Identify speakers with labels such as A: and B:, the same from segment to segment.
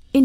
A: verscheen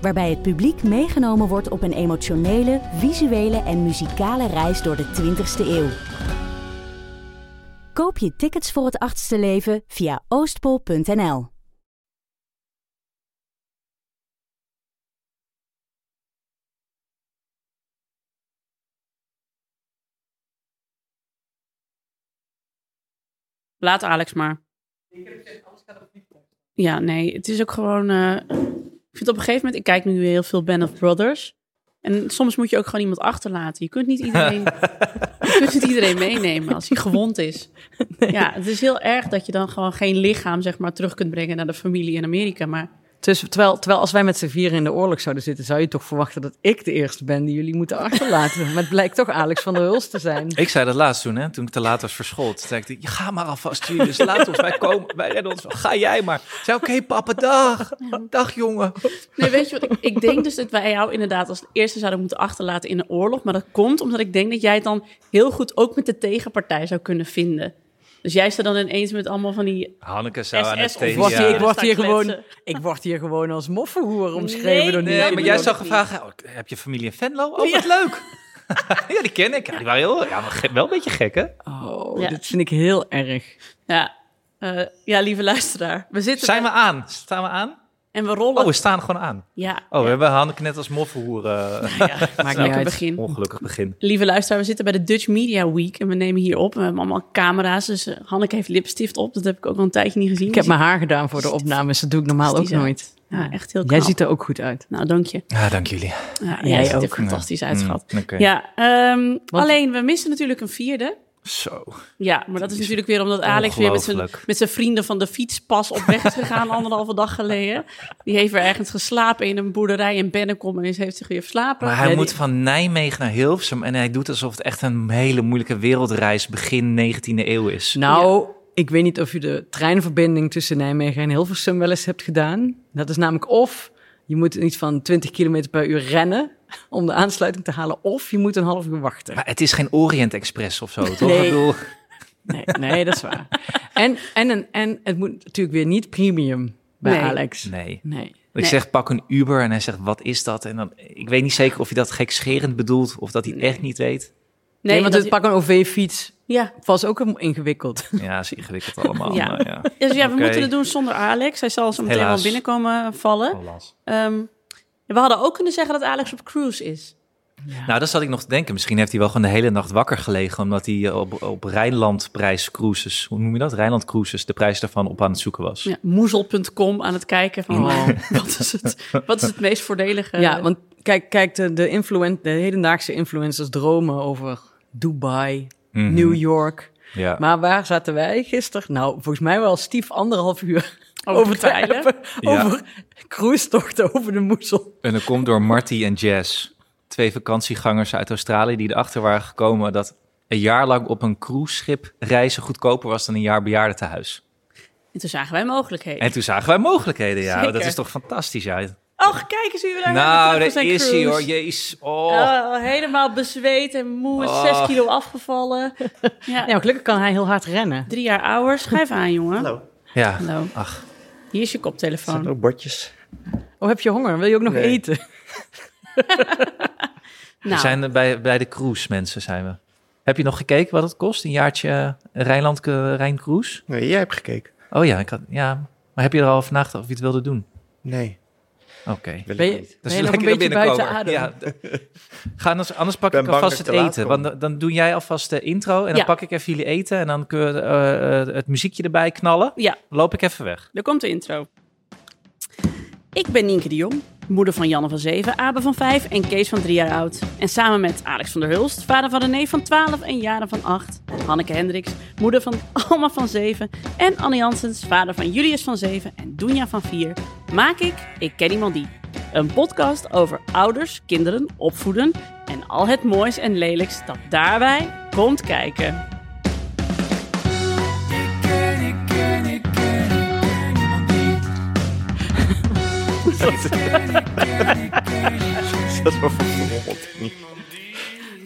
A: Waarbij het publiek meegenomen wordt op een emotionele, visuele en muzikale reis door de 20ste eeuw. Koop je tickets voor het achtste leven via oostpol.nl.
B: Laat Alex maar. Ja, nee, het is ook gewoon. eh, ik vind op een gegeven moment, ik kijk nu heel veel Band of Brothers. En soms moet je ook gewoon iemand achterlaten. Je kunt niet iedereen, je kunt niet iedereen meenemen als hij gewond is. Ja, het is heel erg dat je dan gewoon geen lichaam zeg maar, terug kunt brengen naar de familie in Amerika. Maar
C: Dus, terwijl, terwijl als wij met z'n vieren in de oorlog zouden zitten, zou je toch verwachten dat ik de eerste ben die jullie moeten achterlaten. maar het blijkt toch Alex van der Huls te zijn.
D: Ik zei dat laatst toen, hè, toen ik te laat was verschold. Toen zei ik, "Ja, ga maar alvast, Julius, laat ons, wij komen, wij redden ons. wel. Ga jij maar. Ik zei, oké papa, dag. Dag jongen.
B: Nee, weet je wat? Ik, ik denk dus dat wij jou inderdaad als eerste zouden moeten achterlaten in een oorlog. Maar dat komt omdat ik denk dat jij het dan heel goed ook met de tegenpartij zou kunnen vinden. Dus jij staat dan ineens met allemaal van die
D: Hanneke zou aan het
B: SS
C: Ik word,
D: tegen.
B: officieren
C: hier, ik, word
B: staan
C: hier gewoon,
B: kletsen.
C: ik word hier gewoon als moffenhoer omschreven
B: Nee, nee,
C: door Nicky
D: Nee, maar
C: Minaj.
D: jij
B: dat
D: zou
B: niet.
D: gevraagd, oh, heb je familie in Venlo? Oh, wat leuk. ja, die ken ik. Ja, die waren heel, ja, maar ge- wel een beetje gek, hè?
C: Oh,
B: Ja.
C: dit vind ik heel erg.
B: Ja, eh, ja lieve luisteraar. We zitten
D: Zijn we
B: bij-
D: aan? Staan we aan?
B: en we rollen.
D: Oh, we staan gewoon aan.
B: Ja, ah,
D: Oh, we hebben Hanneke net als moffenhoer. eh,
C: Maakt niet
B: lekker
C: uit.
B: begin.
D: ongelukkig begin.
B: Lieve luisteraar, we zitten bij de Dutch Media Week en we nemen hier op. We hebben allemaal camera's, dus eh, Hanneke heeft lipstift op. Dat heb ik ook al een tijdje niet gezien.
C: Ik heb mijn haar gedaan voor de opnames. Dat doe ik normaal ook
B: Fantastisch uit.
C: nooit.
B: Ja, echt heel knap.
C: Jij ziet er ook goed uit.
B: Nou, dank je.
D: Ja, dank jullie.
B: Ja, jij,
C: Jij
B: ziet er
C: ook. eh.
B: fantastisch uit,
D: Mm,
B: schat.
D: oké.
B: Ja, ehm, alleen we missen natuurlijk een vierde.
D: Zo.
B: Ja, maar dat is natuurlijk weer omdat Alex weer met zijn,
D: Ongelooflijk.
B: met zijn vrienden van de fietspas op weg is gegaan anderhalve dag geleden. Die heeft weer ergens geslapen in een boerderij in Bennekom en is- heeft zich weer verslapen.
D: Maar hij
C: Ja, die-
D: moet van Nijmegen naar Hilversum en hij doet alsof het echt een hele moeilijke wereldreis begin 19e eeuw is.
C: Nou, ik weet niet of je de treinverbinding tussen Nijmegen en Hilversum wel eens hebt gedaan. Dat is namelijk of je moet iets van 20 km per uur rennen om de aansluiting te halen, of je moet een half uur wachten.
D: Maar het is geen Orient Express of zo, toch?
C: Nee.
D: Ik bedoel,
C: Nee, nee dat is waar. En, en, en, en het moet natuurlijk weer niet premium bij
B: Nee.
C: Alex.
D: nee.
C: Nee.
D: Ik zeg pak een Uber en hij zegt wat is dat? En dan, ik weet niet zeker of hij dat gekscherend bedoelt of dat hij het echt niet weet.
C: Nee, want
B: dat-
C: het pak een OV-fiets
B: Ja,
C: was ook een- ingewikkeld.
D: Ja, is ingewikkeld allemaal.
B: Ja.
D: maar ja.
B: dus ja, we
D: Oké.
B: moeten het doen zonder Alex. Hij zal zo meteen wel
D: Helaas.
B: binnenkomen eh, vallen. Ehm, we hadden ook kunnen zeggen dat Alex op cruise is.
D: Nou, dat zat ik nog te denken. Misschien heeft hij wel gewoon de hele nacht wakker gelegen. Omdat hij eh, op, op Rijnlandprijs cruises, hoe noem je dat? Rijnland cruises, de prijs daarvan op aan het zoeken was.
B: Ja, moezel.com aan het kijken van eh,
C: Oh.
B: wat, is het, wat is het meest voordelige.
C: ja, want kijk, kijk de, de, influen- de hedendaagse influencers dromen over Dubai,
D: Mhm.
C: New York.
D: Ja.
C: Maar waar zaten wij gisteren? Nou, volgens mij wel stief anderhalf uur
B: Over
C: over te
B: zeilen.
C: hebben.
D: Ja.
C: Over cruistochten over de moezel.
D: En dat komt door Marty en Jazz. Twee vakantiegangers uit Australië die erachter waren gekomen dat een jaar lang op een cruiseschip reizen goedkoper was dan een jaar bejaardentehuis.
B: En toen zagen wij mogelijkheden.
D: En toen zagen wij mogelijkheden, ja.
B: Zeker.
D: Dat is toch fantastisch, ja.
B: Och, kijk eens wie we daar
D: nou,
B: hebben terug
D: dat
B: van zijn
D: is hij
B: cruise.
D: hoor. Jezus. Oh.
B: Oh, helemaal bezweet en moe, is zes
D: Oh.
B: kilo afgevallen. Ja,
C: Ja, maar gelukkig kan hij heel hard rennen.
B: drie jaar ouder. Schrijf aan, jongen.
E: Hallo.
D: Ja.
B: Hallo.
D: Ach,
B: Hier is je
E: Zijn er
B: koptelefoon.
E: ook bordjes?
C: Oh, heb je honger? Wil je ook nog
E: Nee.
C: eten?
D: we
B: Nou,
D: zijn bij, bij de cruise mensen zijn we. Heb je nog gekeken wat het kost? Een jaartje Rijnland Rijncruise?
E: Nee, jij hebt gekeken.
D: Oh ja, ik had, ja. Maar heb je er al over nagedacht of je het wilde doen?
E: Nee,
D: Oké.
E: wil
C: Ben
E: ik
C: je-
E: niet.
C: Ben
D: Dat is
C: je
D: een
C: nog een
D: lekkere
C: beetje buiten
D: binnenkomer.
C: adem?
D: Ja. Ga anders, anders pak
E: ben
D: ik
E: bang
D: alvast
E: dat
D: het
E: ik te laat
D: eten. Want
E: kom.
D: dan, dan doe jij alvast de intro en dan
B: Ja.
D: pak ik even jullie eten. En dan kun je eh, eh, het muziekje erbij knallen.
B: ja,
D: Dan loop ik even weg.
B: daar komt de intro. Ik ben Nienke de Jong, moeder van Janne van 7, Abe van 5 en Kees van 3 jaar oud. En samen met Alex van der Hulst, vader van René van 12 en Jaren van 8. Hanneke Hendricks, moeder van Alma van 7. En Anne Janssens, vader van Julius van 7 en Doenja van 4. Maak ik Ik Ken Iemand Die. Een podcast over ouders, kinderen, opvoeden en al het moois en lelijks dat daarbij komt kijken.
E: Dat is wel vervolgd.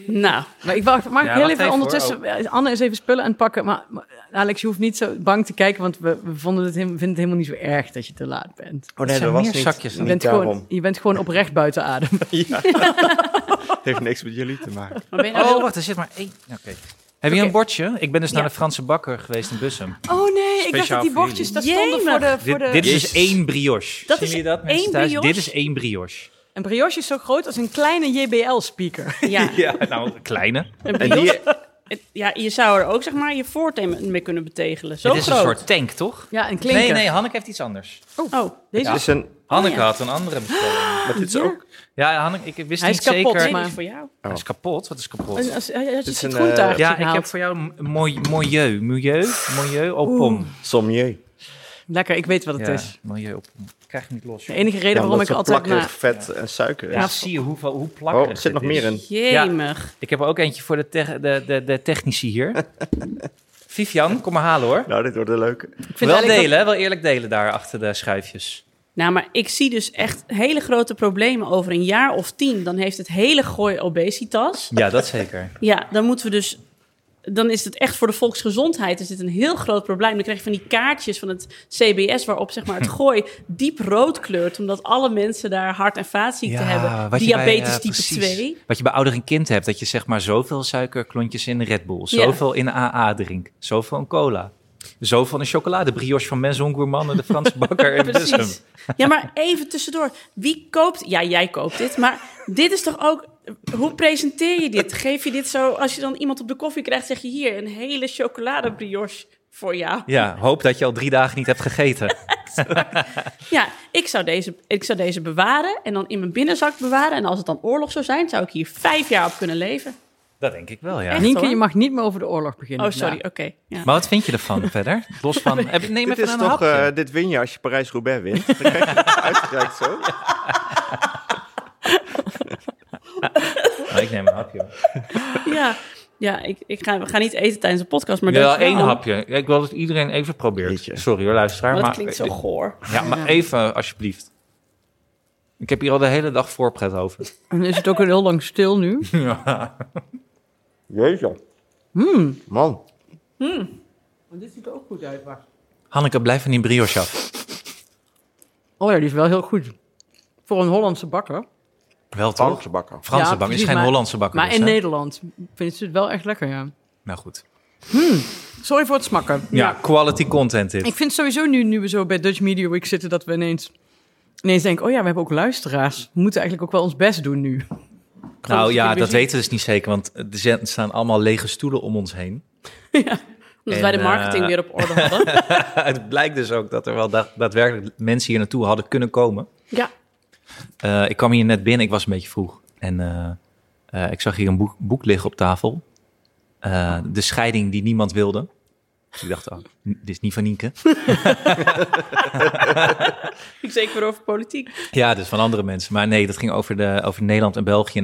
B: Nou,
C: Maar ik wacht, mag ik
D: Ja,
C: heel
D: wacht
C: even
D: even
C: ondertussen eh, Anne eens even spullen aanpakken. Maar, maar Alex, je hoeft niet zo bang te kijken, want we, we vonden het, hem- vinden het helemaal niet zo erg dat je te laat bent.
E: Oh
D: Er
E: nee,
D: zijn
E: dat was
D: meer
E: niet,
D: zakjes. Je
E: niet
C: Je bent,
E: daarom.
C: gewoon, je bent gewoon oprecht buiten adem.
E: Ja. Het heeft niks met jullie te maken.
B: maar ben je nou
D: Oh,
B: heel-
D: wacht, er zit maar één. Oké. Heb je een bordje? Ik ben dus naar de Franse bakker geweest in Bussum.
C: Oh nee, ik dacht
D: Speciaal
C: dat die
D: voor
C: bordjes daar
B: jullie.
C: stonden voor de... Voor
D: Dit,
C: de...
D: dit is dus
E: Jezus.
D: één brioche.
B: Dat
D: Zien
B: is
D: jullie dat, mensen
B: één
D: thuis?
B: brioche?
D: Dit is één brioche.
C: Een brioche is zo groot als een kleine JBL-speaker.
B: ja,
D: Ja, nou, een kleine.
B: een
E: En
B: brioche-
E: die,
B: ja, je zou er ook zeg maar je voorteen mee kunnen betegelen. Zo
D: Dit is
B: groot.
D: een soort tank, toch?
C: Ja, een klinker.
D: Nee, nee, Hanneke heeft iets anders.
B: Oh,
C: Deze
E: dit
C: is
E: is een,
D: Hanneke
B: ja.
D: had een andere bestelling.
E: maar dit is
C: Ja.
E: ook
D: Ja, Hanneke, ik wist
C: Hij is
D: niet
C: kapot,
D: zeker.
B: nee,
C: maar-
B: die is voor jou.
D: Hij is kapot. Wat is kapot?
C: Als, als, als,
E: Dit is
C: je
E: een,
C: het
E: eh,
C: groentaartje
D: ja, ik
C: haalt.
D: heb voor jou m- mooi- milieu. Milieu? Milieu op pom.
E: sommier.
C: Lekker, ik weet wat het
D: Ja,
C: is.
D: milieu op pom. Krijg je niet los.
C: De
D: joh.
C: enige reden
E: Ja,
C: waarom ik
E: omdat het
C: altijd
E: plakkerig
C: naar...
E: vet en suiker
D: Ja,
E: is.
D: zie je hoe, hoe plakkerig
E: Oh, er zit nog
D: dit
E: meer
D: is.
E: in.
B: Jemig.
D: Ik heb er ook eentje voor de, tech- de, de, de technici hier. Vivian, kom maar halen hoor.
E: Nou, dit wordt een leuke.
C: Ik vind
D: Wel
C: eigenlijk
D: delen, hè? wel eerlijk delen daar achter de schuifjes.
B: Nou, maar ik zie dus echt hele grote problemen over een jaar of tien. Dan heeft het hele gooi obesitas.
D: Ja, dat zeker.
B: Ja, dan moeten we dus. Dan is het echt voor de volksgezondheid is dit een heel groot probleem. Dan krijg je van die kaartjes van het CBS waarop zeg maar, het gooi diep rood kleurt. Omdat alle mensen daar hart- en vaatziekten hebben. Diabetes
D: eh,
B: type 2.
D: Wat je bij ouder en kind hebt, dat je zeg maar zoveel suikerklontjes in de Red Bull,
B: Ja.
D: zoveel in de AA drink, zoveel in cola, zoveel in chocolade, brioche van Maison Gourmand, de Franse bakker in Bussum.
B: Precies. Ja, maar even tussendoor. Wie koopt... Ja, jij koopt dit, maar dit is toch ook... Hoe presenteer je dit? Geef je dit zo... Als je dan iemand op de koffie krijgt, zeg je hier... een hele chocoladebrioche voor jou.
D: Ja, hoop dat je al drie dagen niet hebt gegeten.
B: Ja, ik zou, deze, ik zou deze bewaren en dan in mijn binnenzak bewaren. En als het dan oorlog zou zijn, zou ik hier vijf jaar op kunnen leven.
D: Dat denk ik wel, ja.
B: Echt?
C: Nienke,
B: hoor.
C: je mag niet meer over de oorlog beginnen.
B: Oh, sorry. Oké.
C: vandaag.
B: ja.
D: Maar wat vind je ervan verder? Los van, heb, neem
E: Dit
D: even
E: is
D: een
E: toch,
D: hapje.
E: eh, dit win je als je Parijs-Roubaix wint. Dan krijg je het uitgereikt zo.
D: Nou, ik neem een hapje.
B: ja. Ja, ik, ik ga, we gaan niet eten tijdens de podcast, maar
D: Maar wel
B: dat
D: één hapje. Ja, Ik wil dat iedereen even probeert.
E: Jeetje.
D: Sorry hoor, luisteraar.
B: Maar
D: Maar,
B: dat klinkt zo goor.
D: Ja, maar even alsjeblieft. Ik heb hier al de hele dag voorpret over.
C: En is het ook al heel lang stil nu.
E: Jezus.
C: Hmm.
E: Man.
C: dit ziet er ook goed uit,
D: Hanneke, blijf van die brioche af.
C: Oh ja, die is wel heel goed. Voor een Hollandse bakker.
D: Wel toch?
E: Franse bakker.
D: Franse
C: Ja,
D: bak is
C: precies,
D: geen
C: maar-
D: Hollandse bakker.
C: Maar
D: dus,
C: in
D: hè?
C: Nederland vinden ze het wel echt lekker, ja.
D: Nou goed.
C: Sorry voor het smakken.
D: Ja, quality content dit.
C: Ik vind sowieso nu, nu we zo bij Dutch Media Week zitten, dat we ineens, ineens denken, oh ja, we hebben ook luisteraars. We moeten eigenlijk ook wel ons best doen nu.
D: nou ja, dat
C: televisie.
D: weten we dus niet zeker, want er zijn- er staan allemaal lege stoelen om ons heen.
B: Omdat
D: En,
B: wij de marketing
D: eh,
B: weer op orde hadden.
D: het blijkt dus ook dat er wel da- daadwerkelijk mensen hier naartoe hadden kunnen komen.
B: ja.
D: Eh, ik kwam hier net binnen, ik was een beetje vroeg. En eh, eh, ik zag hier een boek, boek liggen op tafel. Eh, de scheiding die niemand wilde. Dus ik dacht, oh, n- dit is niet van Nienke.
B: Ik zeker weer over politiek.
D: Ja, dus van andere mensen. Maar nee, dat ging over, de, over Nederland en België in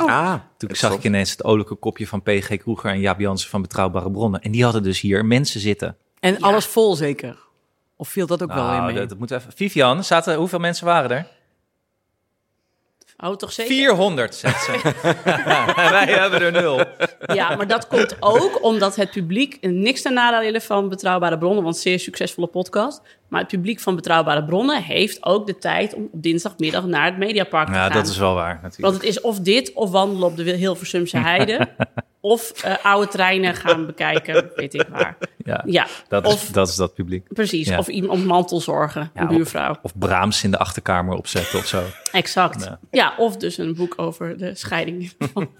C: Oh.
D: Dus
E: Ah.
D: toen zag ik
E: klopt.
D: ineens het olijke kopje van PG Kroeger en Jaap Jansen van Betrouwbare Bronnen. En die hadden dus hier mensen zitten.
C: En alles vol zeker. Of viel dat ook wel weer
D: Nou,
C: mee?
D: dat, dat moet even... Vivian, zaten, hoeveel mensen waren er?
B: Oh, toch zeker?
D: 400, zegt ze. Wij hebben er nul.
B: Ja, maar dat komt ook omdat het publiek, en niks ten nadele van Betrouwbare Bronnen, want zeer succesvolle podcast, maar het publiek van Betrouwbare Bronnen heeft ook de tijd om op dinsdagmiddag naar het Mediapark te
D: Ja,
B: gaan.
D: dat is wel waar natuurlijk.
B: Want het is of dit, of wandelen op de Hilversumse heide, of eh, oude treinen gaan bekijken, weet ik waar.
D: Ja,
B: Ja,
D: dat,
B: of,
D: is, dat is dat publiek.
B: precies,
D: ja.
B: of iemand om mantelzorgen,
D: Ja,
B: een
D: of-
B: buurvrouw.
D: Of Braams in de achterkamer opzetten of zo.
B: Exact.
D: Ja.
B: Ja. of dus een boek over de scheiding. van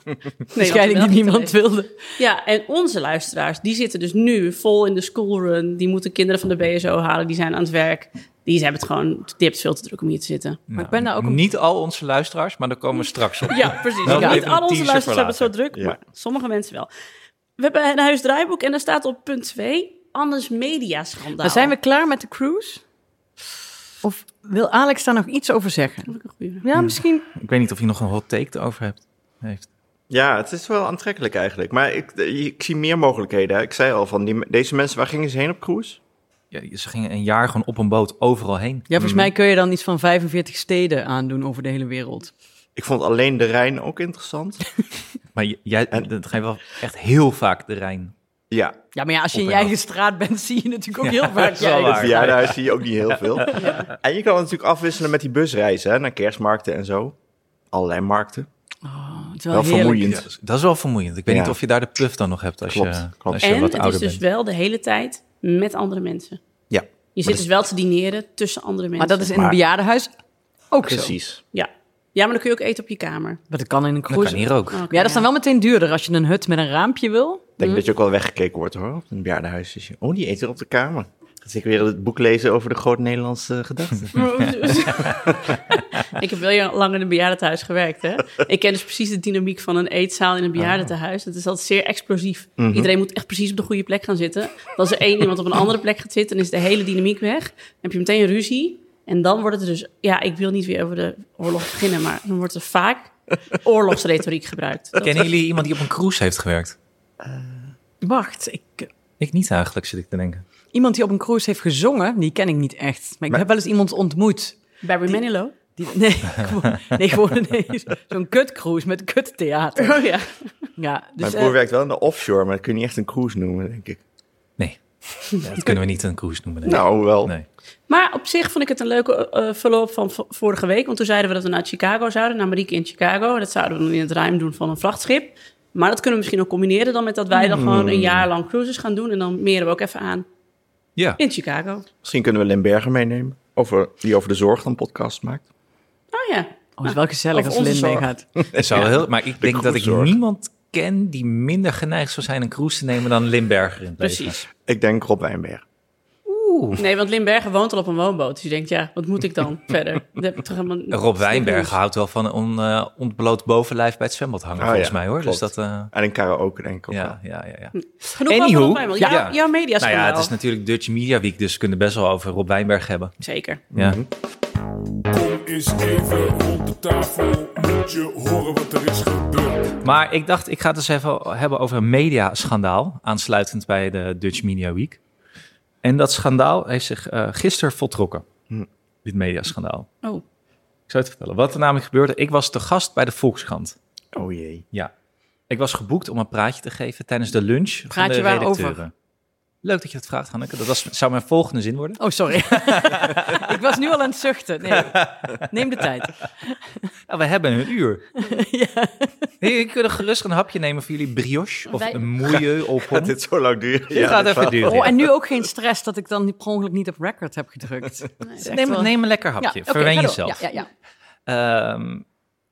C: de scheiding die niemand
B: wil.
C: wilde.
B: Ja, en onze luisteraars, die zitten dus nu vol in de schoolrun. Die moeten kinderen van de BSO halen, die zijn aan het werk. Die hebben het gewoon, die hebben het veel te druk om hier te zitten.
D: Nou,
C: ik ben daar ook een-
D: Niet al onze luisteraars, maar daar komen we straks op.
B: Ja, precies.
D: Nou,
B: Niet
D: even een
B: al onze
D: teaser
B: luisteraars hebben het zo
D: voor
B: druk,
E: Ja.
B: maar sommige mensen wel. We hebben een huis draaiboek en daar staat op punt 2... Anders media schandaal.
C: Maar zijn we klaar met de cruise? Nou. Of Wil Alex daar nog iets over zeggen?
B: Dat is ook een goeie.
C: Ja, misschien.
D: Ik weet niet of je nog een hot take erover hebt. Heeft.
E: Ja, het is wel aantrekkelijk eigenlijk. Maar ik, eh, ik zie meer mogelijkheden. hè. Ik zei al van die, deze mensen, waar gingen ze heen op cruise?
D: Ja, ze gingen een jaar gewoon op een boot overal heen.
C: Ja, volgens mij kun je dan iets van 45 steden aandoen over de hele wereld.
E: Ik vond alleen de Rijn ook interessant.
D: Maar j- jij,
E: En-
D: dat ga je wel echt heel vaak de Rijn.
E: Ja,
C: Ja, maar ja, als je in
D: Op
C: je
D: en af.
C: eigen straat bent, zie je natuurlijk ook heel vaak
D: dat is wel
C: je eigen
D: waar.
C: straat.
E: ja daar zie je ook niet heel veel. En je kan het natuurlijk afwisselen met die busreizen hè, naar kerstmarkten en zo. Allerlei markten.
C: Oh, het is
E: Wel
C: wel heerlijk.
E: vermoeiend.
D: Ja, dat is- dat is wel vermoeiend. Ik weet
E: Ja.
D: niet of je daar de puff dan nog hebt als
E: Klopt,
D: je,
E: klopt.
D: Als je
B: En
D: wat
B: het
D: ouder
B: is dus
D: bent.
B: wel de hele tijd met andere mensen.
E: Ja,
B: Je
E: dat
B: zit
E: is-
B: dus wel te dineren tussen andere mensen.
C: Maar dat is in een
E: Maar-
C: bejaardenhuis ook zo.
E: precies.
B: Ja. ja, maar dan kun je ook eten op je kamer.
C: Maar dat kan in een
D: Dat kan
C: cruise.
D: hier ook.
B: Oké,
C: Oh, Ja, dat is dan wel meteen duurder als je een hut met een raampje wil.
E: Ik denk
D: Mhm.
E: dat je ook wel weggekeken wordt hoor, op een bejaardenhuis. is je- Oh, die eet er op de kamer. Gaat zeker weer het boek lezen over de grote Nederlandse gedachten.
D: Dus,
B: dus- ik heb wel heel lang in een bejaardentehuis gewerkt. Hè? Ik ken dus precies de dynamiek van een eetzaal in een bejaardentehuis. Het is altijd zeer explosief. Iedereen moet echt precies op de goede plek gaan zitten. Want Als er één iemand op een andere plek gaat zitten, dan is de hele dynamiek weg. Dan heb je meteen ruzie. En dan wordt het dus... Ja, ik wil niet weer over de oorlog beginnen, maar dan wordt er vaak oorlogsretoriek gebruikt. Dat-
D: Kennen jullie iemand die op een cruise heeft gewerkt?
C: Wacht, ik,
D: Ik niet eigenlijk, zit ik te denken.
C: iemand die op een cruise heeft gezongen, die ken ik niet echt. Maar ik heb wel eens iemand ontmoet.
B: Barry Manilow?
C: Die, nee, gewoon, nee, gewoon nee, zo'n kutcruise met kuttheater.
B: Oh ja.
C: Ja, dus,
E: Mijn broer
C: eh,
E: werkt wel in de offshore, maar dat kun je niet echt een cruise noemen, denk ik.
D: Nee, Ja, dat kunnen we niet een cruise noemen. nee.
E: Nou, wel.
D: Nee.
B: Maar op zich vond ik het een leuke eh, follow-up van v- vorige week. Want toen zeiden we dat we naar Chicago zouden, naar Marieke in Chicago. Dat zouden we dan in het ruim doen van een vrachtschip. Maar dat kunnen we misschien ook combineren dan met dat wij dan gewoon een jaar lang cruises gaan doen. En dan meren we ook even aan
D: Ja,
B: in Chicago.
E: Misschien kunnen we Limberger meenemen, over, die over de zorg dan podcast maakt.
B: Oh ja.
C: oh, het is wel gezellig
B: Of
C: als
B: onze
C: Lin
B: zorg.
C: meegaat.
D: het zou heel, maar ik denk dat ik
E: cruisezorg.
D: niemand ken die minder geneigd zou zijn een cruise te nemen dan Limberger in het leven.
B: Precies.
E: Ik denk Rob Wijnberg.
B: Nee, want Limbergen woont al op een woonboot. Dus je denkt, ja, wat moet ik dan verder? Dat heb ik toch helemaal...
D: Rob Wijnbergen houdt wel van een on, eh, ontbloot bovenlijf bij het zwembad hangen,
E: Ah,
D: volgens
E: ja,
D: mij hoor. Dus
E: klopt.
D: dat, eh,
E: En een karaoke, denk ik ook wel.
D: ja, ja, ja, ja.
B: Genoeg
D: Anywho,
B: Anywho, van Rob ja,
D: ja.
B: Jouw media
D: Nou ja, het is natuurlijk Dutch Media Week, dus we kunnen best wel over Rob Wijnberg hebben.
B: Zeker.
D: Ja.
E: Mhm.
F: Kom eens even rond de tafel, moet je horen wat er is gebeurd.
D: Maar ik dacht, ik ga het eens even hebben over een mediaschandaal, aansluitend bij de Dutch Media Week. En dat schandaal heeft zich eh gisteren voltrokken, dit mediaschandaal.
B: Oh.
D: Ik zou het vertellen. Wat er namelijk gebeurde, ik was te gast bij de Volkskrant.
E: Oh jee.
D: Ja. Ik was geboekt om een praatje te geven tijdens de lunch van
C: Praatje
D: de
C: waarover?
D: redacteuren. Leuk dat je dat vraagt, Hanneke. Dat was, zou mijn volgende zin worden.
C: Oh, sorry. ik was nu al aan het zuchten. Nee, neem de tijd.
D: Nou, we hebben een uur. Jullie kunnen gerust een hapje nemen voor jullie brioche of
B: Wij-
D: een moeie op.
E: Gaat dit zo lang duren?
D: Dit gaat even duren.
C: Oh, en nu ook geen stress dat ik dan per ongeluk niet op record heb gedrukt.
B: Nee, dat is echt
D: Neem,
B: wel-
D: neem een lekker hapje.
C: oké,
D: Verwen
C: ga door.
D: jezelf.
C: Ja, ja, ja.
D: Ehm,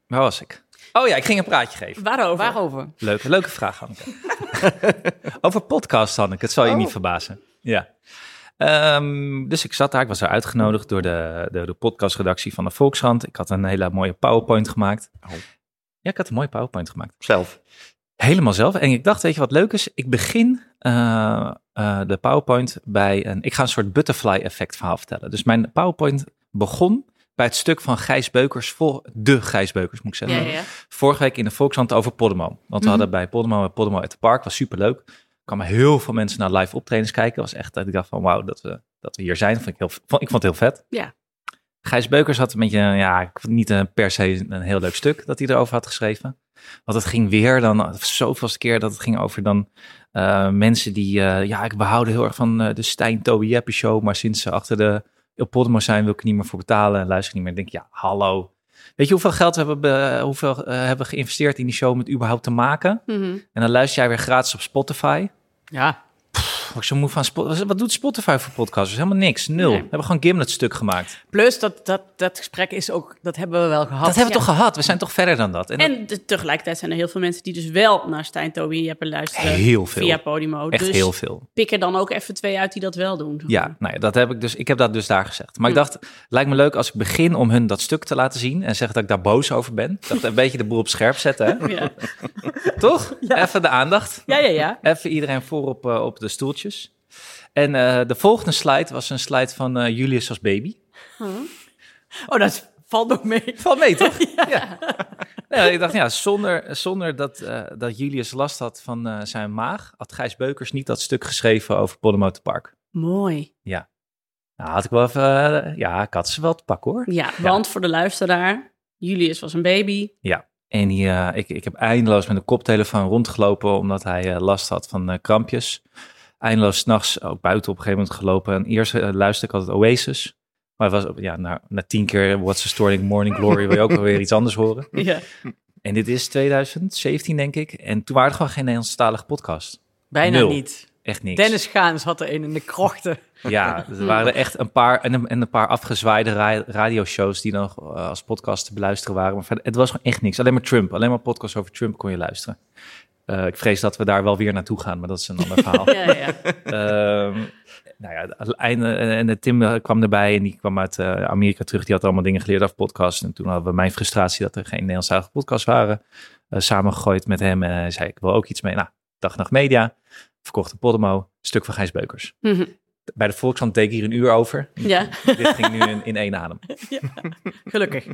D: waar was ik? Oh ja, ik ging een praatje geven.
B: Waarover?
C: Waarover?
D: Leuke, leuke vraag, Hanneke. Over podcast, Hanneke. Het zal je niet
C: Oh.
D: verbazen. Ja. Ehm, dus ik zat daar. Ik was daar uitgenodigd door de, de, de podcastredactie van de Volkskrant. Ik had een hele mooie PowerPoint gemaakt.
C: Oh.
D: Ja, ik had een mooie PowerPoint gemaakt.
E: Zelf.
D: Helemaal zelf. En ik dacht, weet je wat leuk is? Ik begin eh, eh, de PowerPoint bij een... Ik ga een soort butterfly effect verhaal vertellen. Dus mijn PowerPoint begon bij het stuk van Gijs Beukers... Voor, de Gijs Beukers, moet ik
B: Ja,
D: zeggen.
B: ja, ja.
D: Vorige week in de Volkshand over Podemo. Want we hadden bij Podemo, Podemo at the Park. was superleuk. Er kwamen heel veel mensen naar live optredens kijken. was echt dat ik dacht van wauw, dat we, dat we hier zijn. Vond ik, heel, vond, ik vond het heel vet.
B: Ja.
D: Gijs Beukers had een beetje, ja, ik vond niet eh, per se een heel leuk stuk dat hij erover had geschreven. Want het ging weer dan, zoveelste keer dat het ging over dan eh, mensen die, eh, ja, ik behoud heel erg van eh, de Stijn Toby Jeppe show. Maar sinds ze achter de op Podemo zijn, wil ik er niet meer voor betalen. En luister ik niet meer. Dan denk ik, ja, hallo. Weet je hoeveel geld we hebben, be- hoeveel, eh, hebben we geïnvesteerd in die show om het überhaupt te maken?
B: Mhm.
D: En dan luister jij weer gratis op Spotify.
C: Ja,
D: Word ik zo moe van Spo- Wat doet Spotify voor podcasters? Helemaal niks. Nul.
B: Nee.
D: We hebben gewoon Gimlet stuk gemaakt.
C: plus dat, dat, dat gesprek is ook, dat hebben we wel gehad.
D: dat hebben we
C: Ja.
D: toch gehad? We zijn toch verder dan dat? En,
B: Oh, En de- tegelijkertijd zijn er heel veel mensen die dus wel naar Stijn, Toby en Jeppe luisteren.
D: Heel veel.
B: Via Podimo.
D: echt
B: dus
D: heel veel.
B: pik er dan ook even twee uit die dat wel doen.
D: Ja, nou ja, dat heb ik dus. Ik heb dat dus daar gezegd. Maar
B: Mhm.
D: ik dacht, lijkt me leuk als ik begin om hun dat stuk te laten zien en zeg dat ik daar boos over ben. Ik dacht een beetje de boel op scherp zetten, hè?
B: Ja.
D: toch? Even de aandacht.
C: Ja, ja, ja.
D: Even iedereen voor op, eh, op de stoeltjes. En eh, de volgende slide was een slide van eh, Julius als baby.
C: Oh, dat valt nog mee.
D: Valt mee, toch? ja. Ja, ik dacht, ja, zonder, zonder dat, eh, dat Julius last had van eh, zijn maag, had Gijs Beukers niet dat stuk geschreven over Pollemotor Park.
B: Mooi.
D: Nou, had ik wel even, eh, ja, ik had ze wel te pakken hoor.
B: Ja, want voor de luisteraar, Julius was een baby.
D: En die, eh, ik, ik heb eindeloos met een koptelefoon rondgelopen, omdat hij eh, last had van eh, krampjes. Eindeloos s'nachts ook buiten op een gegeven moment gelopen. En eerst eh, luisterde ik altijd Oasis. Maar het was, ook- ja, na, na tien keer What's the Story Morning Glory wil je ook wel weer iets anders horen.
B: Ja.
D: En dit is 2017, denk ik. En toen waren er gewoon geen Nederlandstalige podcast.
C: Bijna
D: Nul.
C: niet.
D: Echt niks.
C: Dennis Gaans had er een in de krochten.
D: Ja, er waren er echt een paar en een, en een paar afgezwaaide ra- radioshows die dan eh, als podcast te beluisteren waren. Maar verder, het was gewoon echt niks. Alleen maar Trump. Alleen maar podcasts over Trump kon je luisteren. Eh, ik vrees dat we daar wel weer naartoe gaan, maar dat is een ander verhaal.
B: Ja, ja, ja.
D: Ehm, nou ja, het einde, en eh, Tim eh, kwam erbij en die kwam uit eh, Amerika terug. Die had allemaal dingen geleerd over podcasts. En toen hadden we mijn frustratie dat er geen Nederlandstalige podcasts waren eh, samengegooid met hem. En hij zei, ik wil ook iets mee. Nou, dag nacht media, verkocht een Podemo, stuk van Gijs Beukers.
B: Mhm.
D: Bij de Volkskrant deed ik hier een uur over.
B: ja.
D: Dit ging nu in, in één adem.
C: Gelukkig.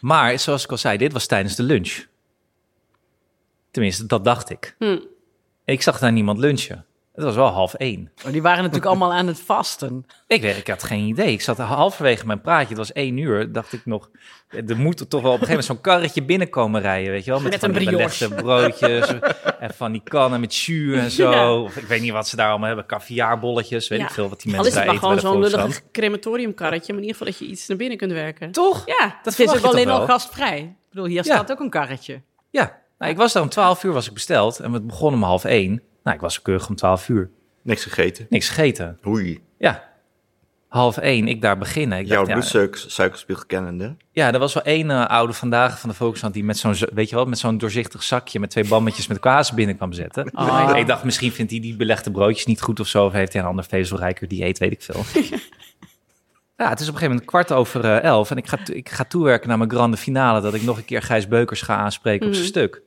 D: Maar zoals ik al zei, dit was tijdens de lunch. Tenminste, dat dacht ik.
B: Hm.
D: Ik zag daar niemand lunchen. Het was wel half één.
C: Maar Oh, die waren natuurlijk allemaal aan het vasten.
D: Ik, weet, ik had geen idee. Ik zat halverwege mijn praatje. Het was één uur. Dacht ik nog. eh, Er moet er toch wel op een gegeven moment zo'n karretje binnenkomen rijden. Weet je wel?
B: Met
D: van
B: een
D: die
B: brioche.
D: belegde broodjes. en van die kannen met jus en zo. Of ik weet niet wat ze daar allemaal hebben. Caviarbolletjes. Weet
B: Ja.
D: ik veel wat die
B: Al is
D: mensen
B: het maar
D: daar eten.
B: gewoon
D: bij de
B: zo'n
D: Volkskrant.
B: lullig crematoriumkarretje, maar in ieder geval dat je iets naar binnen kunt werken.
D: Toch?
B: Ja,
D: Dat
C: Het is
D: verwacht
C: ook
D: je toch
C: alleen al
D: wel?
C: gastvrij. Ik bedoel, hier
D: Ja.
C: staat ook een karretje.
D: Ja. Nou, ik was daar om 12 uur was ik besteld. En het begon om half één. Nou, ik was er keurig om 12 uur.
E: Niks gegeten.
D: Niks gegeten.
E: Oei.
D: Ja. Half één, ik daar beginnen. Ik
E: Jouw
D: dacht, ja,
E: bloedsuikerspiegel kennende.
D: Ja, er was wel één eh, oude vandaag van de Volkskrant die met zo'n, zo- weet je wel, met zo'n doorzichtig zakje met twee bammetjes met kaas binnen kwam zetten.
B: Oh,
C: Ah.
D: Ik dacht, misschien vindt hij die belegde broodjes niet goed of zo, of heeft hij een ander vezelrijker dieet, weet ik veel. ja, het is op een gegeven moment kwart over eh, elf en ik ga, to- ik ga toewerken naar mijn grande finale dat ik nog een keer Gijs Beukers ga aanspreken op
B: Mhm.
D: zijn stuk.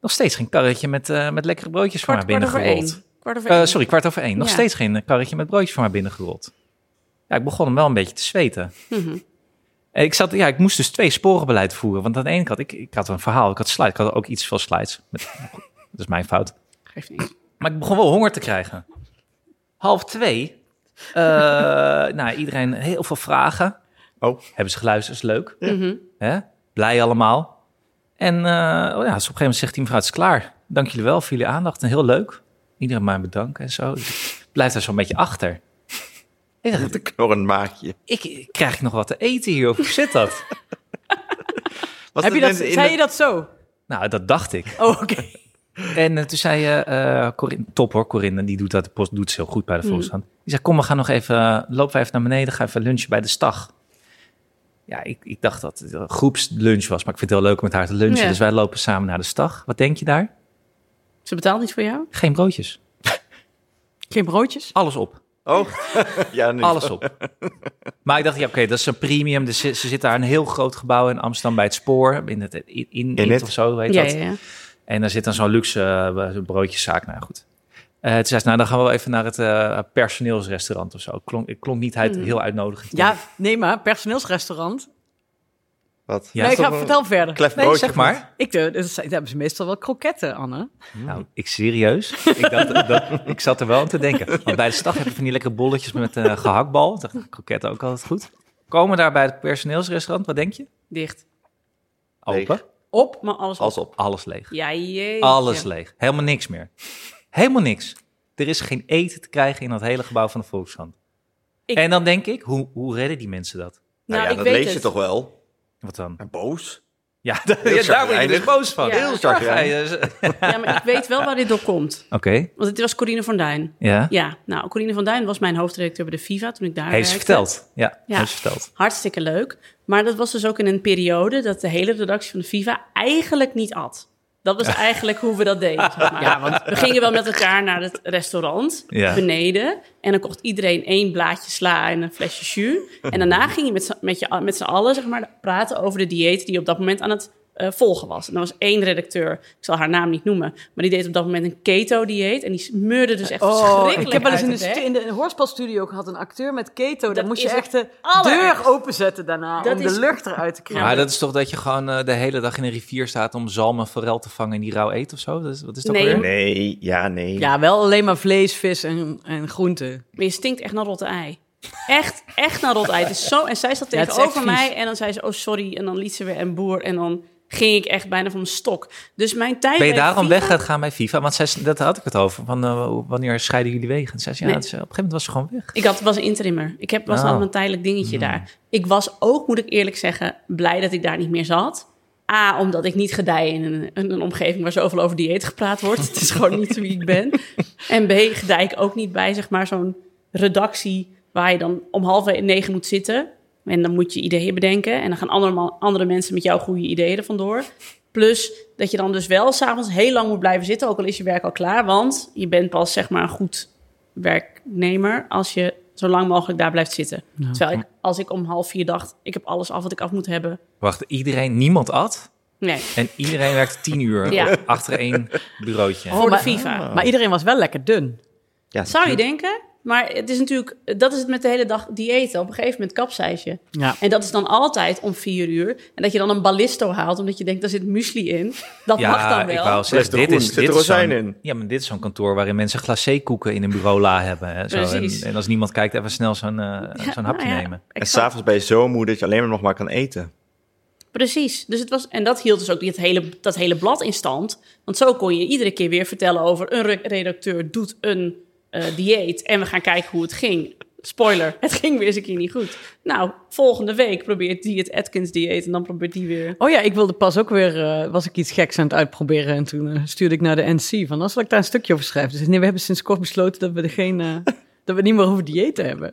D: Nog steeds geen karretje met, eh, met lekkere broodjes voor mij
B: Kwart, kwart over
D: binnengerold.
B: één. Kwart over
D: Eh,
B: één.
D: sorry, kwart over één. Nog
B: Ja.
D: steeds geen eh, karretje met broodjes voor mij binnengerold. Ja, ik begon hem wel een beetje te zweten. En ik, zat, ja, ik moest dus twee sporenbeleid voeren. Want aan de ene kant, ik, ik had een verhaal, ik had slides. Ik had ook iets veel slides. Met, dat is mijn fout.
B: Geeft niks.
D: Maar ik begon wel honger te krijgen. Half twee. eh, nou, iedereen heel veel vragen.
E: Oh.
D: Hebben ze geluisterd, is leuk. Hè? Blij allemaal. En eh, oh ja, dus op een gegeven moment zegt die mevrouw, het is klaar. Dank jullie wel voor jullie aandacht en heel leuk. Iedereen maar bedanken en zo. Dus ik blijf daar zo'n beetje achter. Ik dacht,
E: Met een knorrend maakje.
D: ik, ik- krijg ik nog wat te eten hier? Of hoe zit dat?
E: Was
C: Heb je dat, zei je
E: dat?
C: dat zo?
D: nou, dat dacht ik.
C: Oh, oké.
D: En eh, toen zei je, eh, Corinne, top hoor, Corinne, die doet dat, de post doet ze heel goed bij
B: Mm.
D: de Volkskrant. Die zei, kom, we gaan nog even, eh, lopen we even naar beneden, gaan even lunchen bij de stag. Ja, ik, ik dacht dat het een groepslunch was, maar ik vind het heel leuk om met haar te lunchen.
B: Ja.
D: Dus wij lopen samen naar de stag. Wat denk je daar?
B: Ze betaalt niet voor jou?
D: Geen broodjes.
C: Geen broodjes?
D: Alles op.
E: Oh, ja, nu.
D: Alles op. Maar ik dacht, ja, oké, dat is een premium. Dus ze, ze zit daar in een heel groot gebouw in Amsterdam bij het spoor. In het in, in,
E: In het-
D: of zo, weet
B: Ja,
D: dat.
B: ja, ja.
D: En daar zit dan zo'n luxe eh, broodjeszaak. Nou goed. Eh toen zei ze, nou dan gaan we wel even naar het eh, personeelsrestaurant of zo. Het klonk, het klonk niet uit, heel uitnodigend.
C: Mm. Ja, nee, maar personeelsrestaurant.
E: Wat? Nou,
D: Ja.
C: nee, ik
E: Is dat
C: ga
E: een
C: vertel verder.
E: klef
D: Nee,
E: broodje
D: zeg
E: of niet?
D: maar.
C: Ik, eh, dat zijn- daar hebben ze meestal wel kroketten, Anne.
E: Mm.
D: Nou, ik serieus. ik, dacht, dat, ik zat er wel aan te denken. Want bij de stag heb je van die lekkere bolletjes met eh gehaktbal. Ik dacht, nou, kroketten ook altijd goed. Komen we daar bij het personeelsrestaurant, wat denk je?
B: Dicht.
E: Leeg.
D: Open.
C: Op.
B: Maar alles
E: Alles op.
D: Alles leeg.
B: Ja, Nou, jee.
D: Alles leeg. Helemaal niks meer. Helemaal niks. Er is geen eten te krijgen in dat hele gebouw van de Volkskrant.
B: Ik-
D: En dan denk ik, hoe, hoe redden die mensen dat?
E: Nou, ja,
B: ik
E: dat
B: weet
E: lees
B: het.
E: je toch wel?
D: Wat dan?
E: En boos.
D: Ja, da- ja, daar word je
E: chagrijnig.
D: dus boos van.
B: Ja. Heel
E: chagrijnig.
D: Ga je dus- Oké,
B: Ja, maar ik weet wel waar dit door komt. Want het was Corine van Duin.
D: ja.
B: Ja, nou, Corine van Duin was mijn hoofdredacteur bij de Viva toen ik daar
D: Heeft ze
B: werkte.
D: verteld. Ja,
B: Ja.
D: heeft ze verteld.
B: Hartstikke leuk. Maar dat was dus ook in een periode dat de hele redactie van de Viva eigenlijk niet at. Dat was eigenlijk hoe we dat deden. zeg maar.
C: Ja, want
B: We gingen wel met elkaar naar het restaurant
D: Ja.
B: beneden. En dan kocht iedereen één blaadje sla en een flesje jus. En daarna ging je met z'n- met, je, met z'n allen zeg maar, praten over de diëten die op dat moment aan het eh, volgen was. En er was één redacteur, ik zal haar naam niet noemen, maar die deed op dat moment een keto-dieet. En die smeurde dus echt verschrikkelijk
C: Oh, ik heb wel eens in
B: uit
C: de,
B: het
C: stu-
B: bek.
C: in de hoorspelstudio gehad een acteur met keto.
B: Dat
C: Dan moest je
B: is het
C: echt de
B: allerergste.
C: deur openzetten daarna
B: Dat
C: om
B: is-
C: de lucht eruit te krijgen.
D: maar dat is toch dat je gewoon eh, de hele dag in een rivier staat om zalm en forel te vangen en die rauw eet of zo? Dat is, wat is dat
B: Nee,
D: weer?
E: Nee, ja, nee.
C: Ja, wel alleen maar vlees, vis en, en groenten.
B: Maar je stinkt echt naar rotte ei. Echt, echt naar rotte ei. Het is zo, en zij zat
C: Ja, het is
B: tegenover
C: echt vies.
B: mij en dan zei ze, oh sorry. En dan liet ze weer een boer en dan ging ik echt bijna van mijn stok. Dus mijn tijd
D: Ben je
B: bij
D: daarom
B: FIFA-
D: weg gaat gaan bij FIFA? Want zij, dat had ik het over. Van, eh, wanneer scheiden jullie wegen? En zij zei, ja,
B: Nee.
D: ze- op een gegeven moment was ze gewoon weg.
B: Ik had, was een interimmer. Ik heb, was
D: Oh.
B: altijd een tijdelijk dingetje daar. Ik was ook, moet ik eerlijk zeggen, blij dat ik daar niet meer zat. A, omdat ik niet gedij in een, in een omgeving waar zoveel over dieet gepraat wordt. Het is gewoon niet wie ik ben. En B, gedij ik ook niet bij, zeg maar, zo'n redactie waar je dan om half negen moet zitten. En dan moet je ideeën bedenken. En dan gaan andere, man- andere mensen met jouw goede ideeën er vandoor. Plus dat je dan dus wel s'avonds heel lang moet blijven zitten, ook al is je werk al klaar. Want je bent pas, zeg maar, een goed werknemer als je zo lang mogelijk daar blijft zitten. Terwijl ik, als ik om half vier dacht, ik heb alles af wat ik af moet hebben.
D: Wacht, iedereen, niemand at.
B: Nee,
D: En iedereen werkte tien uur
B: Ja. Oh,
D: achter één bureautje.
B: voor
C: Oh, maar-
B: de FIFA.
D: Oh.
C: Maar iedereen was wel lekker dun.
E: Ja,
B: Zou je denken? Maar het is natuurlijk, dat is het met de hele dag diëten. Op een gegeven moment kapseis je.
C: Ja.
B: En dat is dan altijd om vier uur. En dat je dan een ballisto haalt, omdat je denkt, daar zit muesli in. Dat mag dan wel.
D: ik wou
E: Fles
D: zeggen,
E: de
D: dit
E: groen,
D: is,
E: zit
D: dit
E: er
D: is
E: rozijn
D: zo'n-
E: in?
D: Ja, maar dit is zo'n kantoor waarin mensen glacékoeken in een bureaula hebben. Hè, zo.
B: Precies.
D: En, en als niemand kijkt, even snel zo'n eh,
B: Ja,
D: zo'n
B: nou
D: hapje
B: ja,
D: nemen.
E: En
B: exact.
E: s'avonds ben je zo moe dat je alleen maar nog maar kan eten.
B: Precies. Dus het was, en dat hield dus ook dit hele, dat hele blad in stand. Want zo kon je iedere keer weer vertellen over een re- redacteur doet een eh, dieet. En we gaan kijken hoe het ging. Spoiler, het ging weer eens een keer niet goed. Nou, volgende week probeert die het Atkins dieet en dan probeert die weer.
C: Oh ja, ik wilde pas ook weer, eh, was ik iets geks aan het uitproberen. En toen eh, stuurde ik naar de NC van, als wil ik daar een stukje over schrijven. Dus nee, we hebben sinds kort besloten dat we, er geen, eh, dat we het niet meer over diëten hebben.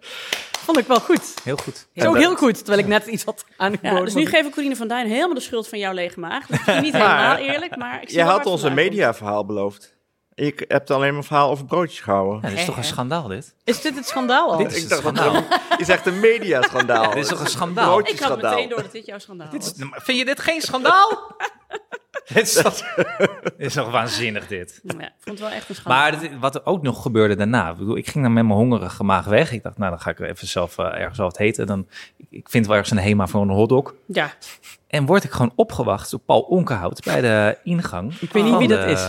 C: Vond ik wel goed.
D: Heel goed.
C: Is ook heel goed, terwijl ik net iets had aangeboden.
B: Ja, dus nu geef ik Corine van Duin helemaal de schuld van jouw lege maag. Dat is misschien niet helemaal eerlijk, maar ik zie wel
E: Je had
B: waar het
E: ons een
B: vandaan komt.
E: mediaverhaal beloofd. Ik heb alleen maar een verhaal over broodjes gehouden.
D: Ja, dit is toch een schandaal, dit?
C: Is dit het schandaal al?
B: Oh,
D: Dit is
E: Ik
D: een
E: dacht, wat
D: schandaal.
E: is echt een mediaschandaal.
D: Dit is toch een schandaal?
E: Broodje-
B: Ik had
E: Schandaal.
B: meteen door dat dit jouw schandaal was.
D: Dit is- maar Vind je dit geen schandaal? dit, is toch, dit is toch waanzinnig, dit.
B: Ja, ik vond het wel echt een schandaal.
D: Maar dit- wat er ook nog gebeurde daarna. Ik, bedoel, ik ging dan met mijn hongerige maag weg. Ik dacht, nou, dan ga ik even zelf eh, ergens wat heten. Dan, ik- ik vind wel ergens een Hema voor een hotdog.
B: Ja,
D: En word ik gewoon opgewacht door Paul Onkenhout bij de ingang. Ik
C: weet niet wie dat is.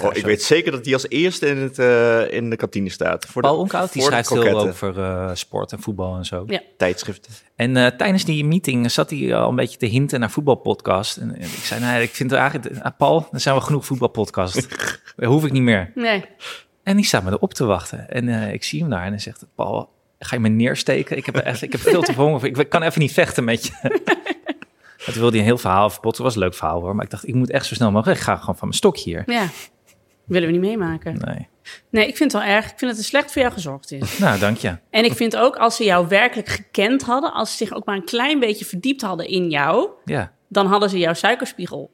E: Oh, ik weet zeker dat die als eerste in, het, eh, in de kantine staat. Voor
D: Paul
E: de,
D: Onkenhout, die
E: voor de
D: schrijft veel
E: kroketten.
D: over eh, sport en voetbal en zo.
B: Ja.
E: Tijdschriften.
D: En eh, tijdens die meeting zat hij al een beetje te hinten naar voetbalpodcast. En, en ik zei, nou, ik vind eigenlijk, ah, Paul, dan zijn we genoeg voetbalpodcast. dat hoef ik niet meer.
B: nee.
D: En die staat me erop te wachten. En eh, ik zie hem daar en hij zegt, Paul, ga je me neersteken? Ik heb, echt, ik heb veel te veel honger. voor. Ik kan even niet vechten met je. Maar Toen wilde hij een heel verhaal verpotten. Het was een leuk verhaal hoor. Maar ik dacht, ik moet echt zo snel mogelijk. weg. Ik ga gewoon van mijn stok hier.
B: Ja, willen we niet meemaken.
D: Nee.
B: Nee, ik vind het wel erg. Ik vind dat er slecht voor jou gezorgd is.
D: Nou, dank je.
B: En ik vind ook als ze jou werkelijk gekend hadden, als ze zich ook maar een klein beetje verdiept hadden in jou,
D: Ja,
B: dan hadden ze jouw suikerspiegel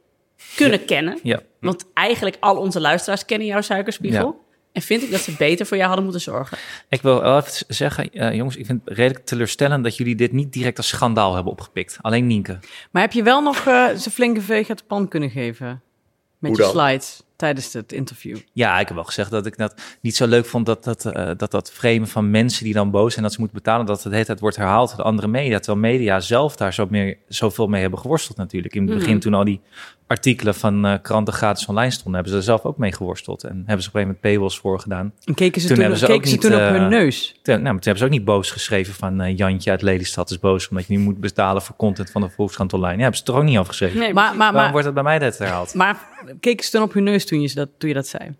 B: kunnen kennen.
D: ja.
B: Want eigenlijk al onze luisteraars kennen jouw suikerspiegel. En vind ik dat ze beter voor jou hadden moeten zorgen.
D: Ik wil wel even zeggen, eh, jongens, ik vind het redelijk teleurstellend dat jullie dit niet direct als schandaal hebben opgepikt. Alleen Nienke.
C: Maar heb je wel nog eh zijn flinke veeg uit de pan kunnen geven? Met
E: Hoe
C: je
E: dan?
C: slides tijdens het interview.
D: Ja, ik heb wel gezegd dat ik dat niet zo leuk vond. Dat dat, eh, dat, dat framen van mensen die dan boos zijn dat ze moeten betalen. Dat het de hele tijd wordt herhaald door de andere media. Terwijl media zelf daar zo meer, zoveel mee hebben geworsteld natuurlijk. In het begin toen al die artikelen van eh, kranten gratis online stonden. Hebben ze er zelf ook mee geworsteld. En hebben ze op een gegeven moment paywalls voor gedaan.
C: En keken ze
D: Toen
C: toen,
D: hebben ze ook
C: keken ze
D: niet,
C: toen op
D: eh,
C: hun neus.
D: Toen, nou, maar toen hebben ze ook niet boos geschreven van eh, Jantje uit Lelystad is boos. Omdat je nu moet betalen voor content van de Volkskrant online. Ja, hebben ze het er ook niet afgeschreven.
B: Nee,
C: Maar, maar,
D: Waarom
C: maar,
D: wordt het bij mij dat herhaald?
C: maar keken ze toen op hun neus toen je, ze dat, toen je dat zei?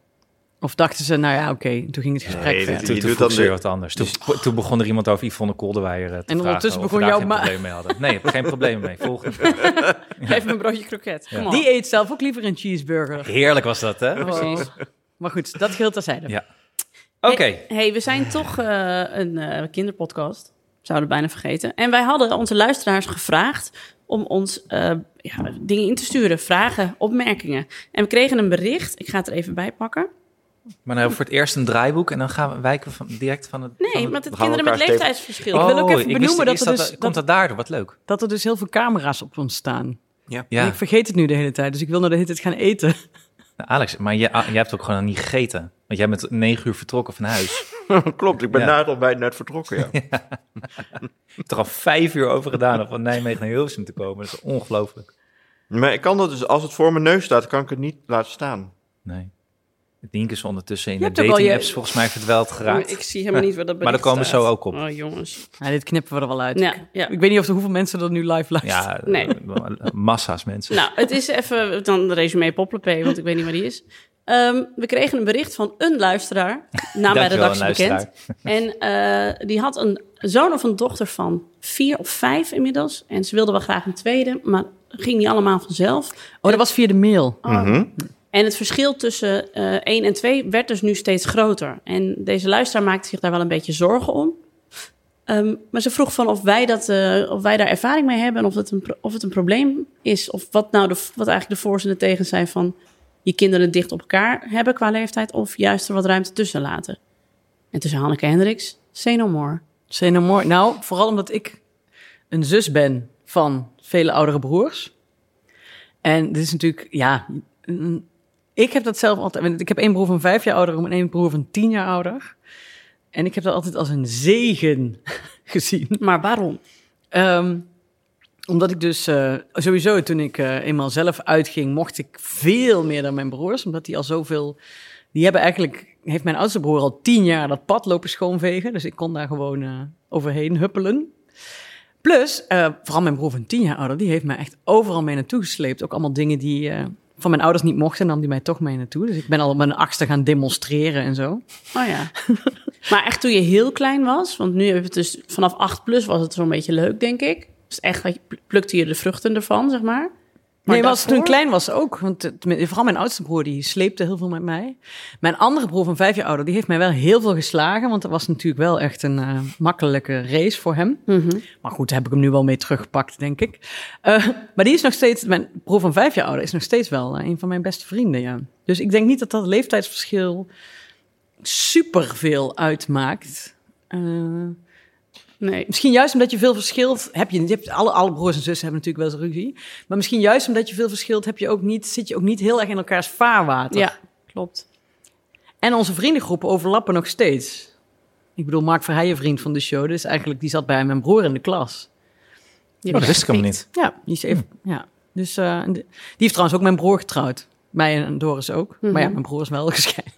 C: Of dachten ze, nou ja, oké, toen ging het gesprek
E: Nee, dat-
C: verder.
D: Toen,
E: Je
D: toen vroeg
E: doet dan
D: ze
E: de-
D: weer wat anders. Toen, toen begon er iemand over Yvonne Kolderweijer eh,
C: En
D: te vragen
C: ondertussen
D: of we
C: begon
D: daar
C: jouw
D: geen
C: ma-
D: probleem mee hadden. Nee, ik heb geen probleem mee. Volgende.
B: Even een broodje kroket. Kom op.
C: Die eet zelf ook liever een cheeseburger.
D: Heerlijk was dat, hè?
C: Precies. Maar goed, dat geldt terzijde.
D: Ja. Oké.
B: Hey, hey, we zijn toch eh, een eh, kinderpodcast. Zouden we bijna vergeten. En wij hadden onze luisteraars gevraagd om ons eh, ja, dingen in te sturen. Vragen, opmerkingen. En we kregen een bericht. Ik ga het er even bij pakken.
D: Maar nou hebben we voor het eerst een draaiboek en dan gaan we, wijken we van, direct van het... van
B: Nee,
D: het-
B: want het
E: we houden
B: kinderen met
E: elkaar stevig.
D: Oh,
B: leeftijdsverschil.
C: wil ook even
D: ik wist-
C: benoemen dat
D: is
C: er dus-
D: Komt dat daardoor? Wat leuk.
C: Dat er dus heel veel camera's op ons staan.
D: Ja,
C: En ik vergeet het nu de hele tijd, dus ik wil nou de hele tijd gaan eten.
D: Nou, Alex, maar jij, jij hebt ook gewoon niet gegeten. Want jij bent negen uur vertrokken van huis.
E: Klopt, ik ben
D: Ja.
E: na het ontbijt net vertrokken. Ja.
D: Ik heb er al vijf uur over gedaan om van Nijmegen naar Hilversum te komen. Dat is ongelooflijk.
E: Maar ik kan dat dus, als het voor mijn neus staat, kan ik het niet laten staan.
D: Nee. Dienke is ondertussen
C: Je
D: in de
C: hebt ook al je-
D: dating apps volgens mij verdweld geraakt.
B: Ik zie helemaal niet waar dat
D: Maar daar
B: bericht
D: komen we
B: staat.
D: zo ook op.
B: Oh, jongens.
C: Nou, dit knippen we er wel uit.
B: Ja, ja.
C: Ik weet niet of er hoeveel mensen dat nu live luisteren.
D: Ja,
B: Nee.
D: eh, massa's mensen.
B: Nou, het is even dan de resume Poppelepee, want ik weet niet waar die is. Ehm, we kregen een bericht van een luisteraar, naam bij de
D: Dankjewel,
B: redactie bekend. En eh, die had een zoon of een dochter van vier of vijf inmiddels. En ze wilde wel graag een tweede, maar ging niet allemaal vanzelf.
C: Oh, dat was via de mail.
E: Mhm.
B: En het verschil tussen eh 1 en 2 werd dus nu steeds groter. En deze luisteraar maakte zich daar wel een beetje zorgen om. Ehm, maar ze vroeg van of wij, dat, eh, of wij daar ervaring mee hebben en of het een, pro- of het een probleem is. Of wat nou de, wat eigenlijk de voor's en de tegens zijn van je kinderen dicht op elkaar hebben qua leeftijd. Of juist er wat ruimte tussen laten. En tussen Hanneke Hendricks, say no more.
C: Say no more. Nou, vooral omdat ik een zus ben van vele oudere broers. En dit is natuurlijk, ja, mm, ik heb dat zelf altijd. want Ik heb één broer van vijf jaar ouder en één broer van tien jaar ouder. En ik heb dat altijd als een zegen gezien.
B: Maar waarom?
C: Ehm, omdat ik dus eh, sowieso toen ik eh, eenmaal zelf uitging, mocht ik veel meer dan mijn broers. Omdat die al zoveel. Die hebben eigenlijk. Heeft mijn oudste broer al tien jaar dat pad lopen schoonvegen. Dus ik kon daar gewoon eh, overheen huppelen. Plus, eh, vooral mijn broer van tien jaar ouder, die heeft mij echt overal mee naartoe gesleept. Ook allemaal dingen die eh, van mijn ouders niet mochten, nam die mij toch mee naartoe. Dus ik ben al op mijn achtste gaan demonstreren en zo.
B: Oh ja. maar echt toen je heel klein was, want nu heb je het dus vanaf 8 plus was het zo'n beetje leuk, denk ik. Dus echt had je- plukte je de vruchten ervan, zeg maar.
C: nee, maar als
B: daarvoor-
C: toen ik klein was ook. Want eh, tenmin- vooral mijn oudste broer, die sleepte heel veel met mij. Mijn andere broer van vijf jaar ouder, die heeft mij wel heel veel geslagen. Want dat was natuurlijk wel echt een eh, makkelijke race voor hem.
B: Mhm.
C: Maar goed, daar heb ik hem nu wel mee teruggepakt, denk ik. Eh, maar die is nog steeds, mijn broer van vijf jaar ouder is nog steeds wel eh, een van mijn beste vrienden, ja. Dus ik denk niet dat dat leeftijdsverschil superveel uitmaakt. Eh,
B: Nee.
C: Misschien juist omdat je veel verschilt, heb je, je hebt alle, alle broers en zussen hebben natuurlijk wel eens ruzie. Maar misschien juist omdat je veel verschilt, heb je ook niet, zit je ook niet heel erg in elkaars vaarwater.
B: Ja, klopt.
C: En onze vriendengroepen overlappen nog steeds. Ik bedoel, Mark Verheijen, vriend van de show, dus eigenlijk die zat bij mijn broer in de klas.
B: Je
D: Oh, dat wist ik helemaal
B: gepikt.
D: niet.
C: Ja, die is even. Ja. Dus eh, en de- die heeft trouwens ook mijn broer getrouwd. Mij en Doris ook. Maar ja, mijn broer is wel gescheiden.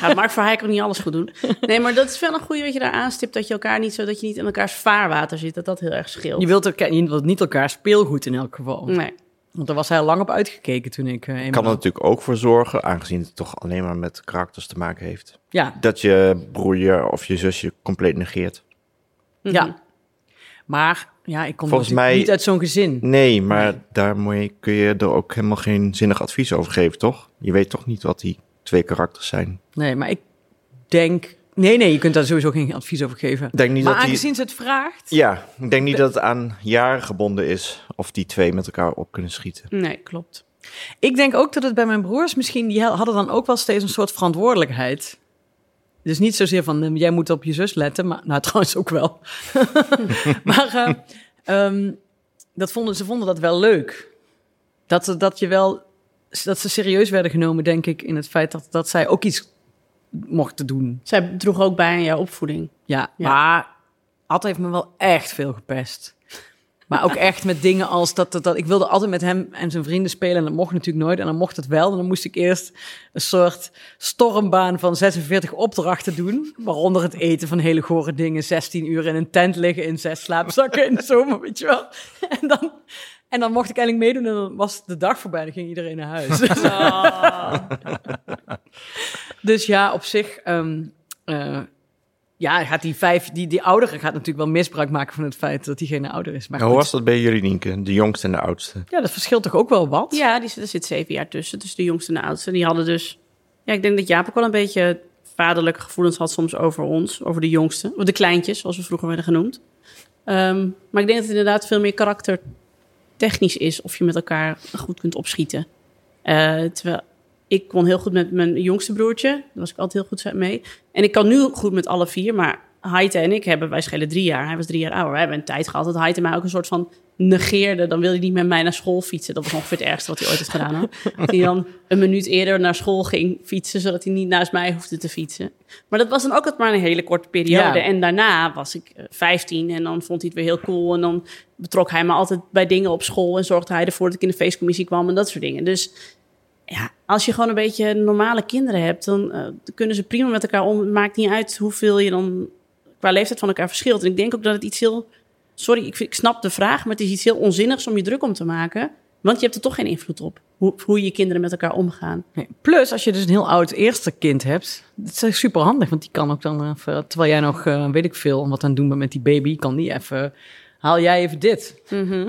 B: Ja, Mark Verheij kan niet alles goed doen. Nee, maar dat is wel een goede wat je daar aanstipt. Dat je elkaar niet zo, dat je niet in elkaars vaarwater zit. Dat dat heel erg scheelt.
C: Je wilt, elkaar, je wilt niet elkaar speelgoed in elk geval.
B: Nee.
C: Want daar was hij al lang op uitgekeken toen ik eh,
E: Ik
C: eenmaal-
E: kan er natuurlijk ook voor zorgen, aangezien het toch alleen maar met karakters te maken heeft.
C: Ja,
E: Dat je broer je of je zusje compleet negeert.
B: Mhm.
C: Ja. Maar ja, ik kom
E: Volgens
C: natuurlijk
E: mij-
C: niet uit zo'n gezin.
E: Nee, maar daarmee kun je er ook helemaal geen zinnig advies over geven, toch? Je weet toch niet wat die twee karakters zijn.
C: Nee, maar ik denk... Nee, nee, je kunt daar sowieso geen advies over geven.
E: Ik denk niet
C: maar
E: dat die...
C: aangezien ze het vraagt...
E: Ja, ik denk niet dat het aan jaren gebonden is of die twee met elkaar op kunnen schieten.
B: Nee, klopt.
C: Ik denk ook dat het bij mijn broers misschien... Die hadden dan ook wel steeds een soort verantwoordelijkheid. Dus niet zozeer van, eh, jij moet op je zus letten. Maar, nou, trouwens ook wel. maar eh, ehm, dat vonden, ze vonden dat wel leuk. Dat, ze- dat, je wel, dat ze serieus werden genomen, denk ik, in het feit dat, dat zij ook iets mochten doen.
B: Zij droeg ook bij aan jouw opvoeding.
C: Ja,
B: Ja.
C: maar Ad heeft me wel echt veel gepest. Maar ook echt met dingen als dat, dat, dat... Ik wilde altijd met hem en zijn vrienden spelen en dat mocht natuurlijk nooit. En dan mocht het wel. En dan moest ik eerst een soort stormbaan van 46 opdrachten doen. Waaronder het eten van hele gore dingen. 16 uur in een tent liggen in zes slaapzakken in de zomer, weet je wel. En dan, en dan mocht ik eindelijk meedoen en dan was de dag voorbij. Dan ging iedereen naar huis. Dus ja, op zich... ehm, eh, ja, gaat die, vijf, die, die oudere gaat natuurlijk wel misbruik maken van het feit dat diegene ouder is. Maar
E: Hoe
C: goed.
E: was dat bij jullie, Nienke? De jongste en de oudste.
C: Ja, dat verschilt toch ook wel wat?
B: Ja, die, zit- er zit zeven jaar tussen. Dus de jongste en de oudste. Die hadden dus... Ja, ik denk dat Jaap ook wel een beetje vaderlijke gevoelens had soms over ons. Over de jongste. Of de kleintjes, zoals we vroeger werden genoemd. Ehm, maar ik denk dat het inderdaad veel meer karaktertechnisch is. Of je met elkaar goed kunt opschieten. Eh, terwijl ik kon heel goed met mijn jongste broertje. Daar was ik altijd heel goed mee. En ik kan nu goed met alle vier. Maar Haite en ik hebben, wij schelen drie jaar. Hij was drie jaar ouder. We hebben een tijd gehad dat Haite mij ook een soort van negeerde. Dan wilde hij niet met mij naar school fietsen. Dat was ongeveer het ergste wat hij ooit heeft gedaan. Hoor. Dat hij dan een minuut eerder naar school ging fietsen, zodat hij niet naast mij hoefde te fietsen. Maar dat was dan ook het maar een hele korte periode.
C: Ja.
B: En daarna was ik eh, 15 en dan vond hij het weer heel cool. En dan betrok hij me altijd bij dingen op school en zorgde hij ervoor dat ik in de feestcommissie kwam en dat soort dingen. Dus ja, als je gewoon een beetje normale kinderen hebt, dan eh, kunnen ze prima met elkaar om. Het maakt niet uit hoeveel je dan qua leeftijd van elkaar verschilt. En ik denk ook dat het iets heel. Sorry, ik, vind- ik snap de vraag, maar het is iets heel onzinnigs om je druk om te maken. Want je hebt er toch geen invloed op. Hoe, hoe je kinderen met elkaar omgaan.
C: Nee. Plus, als je dus een heel oud eerste kind hebt, dat is super handig, want die kan ook dan, even, terwijl jij nog, eh, weet ik veel, wat aan het doen bent met die baby, kan die even, haal jij even dit.
B: Mhm.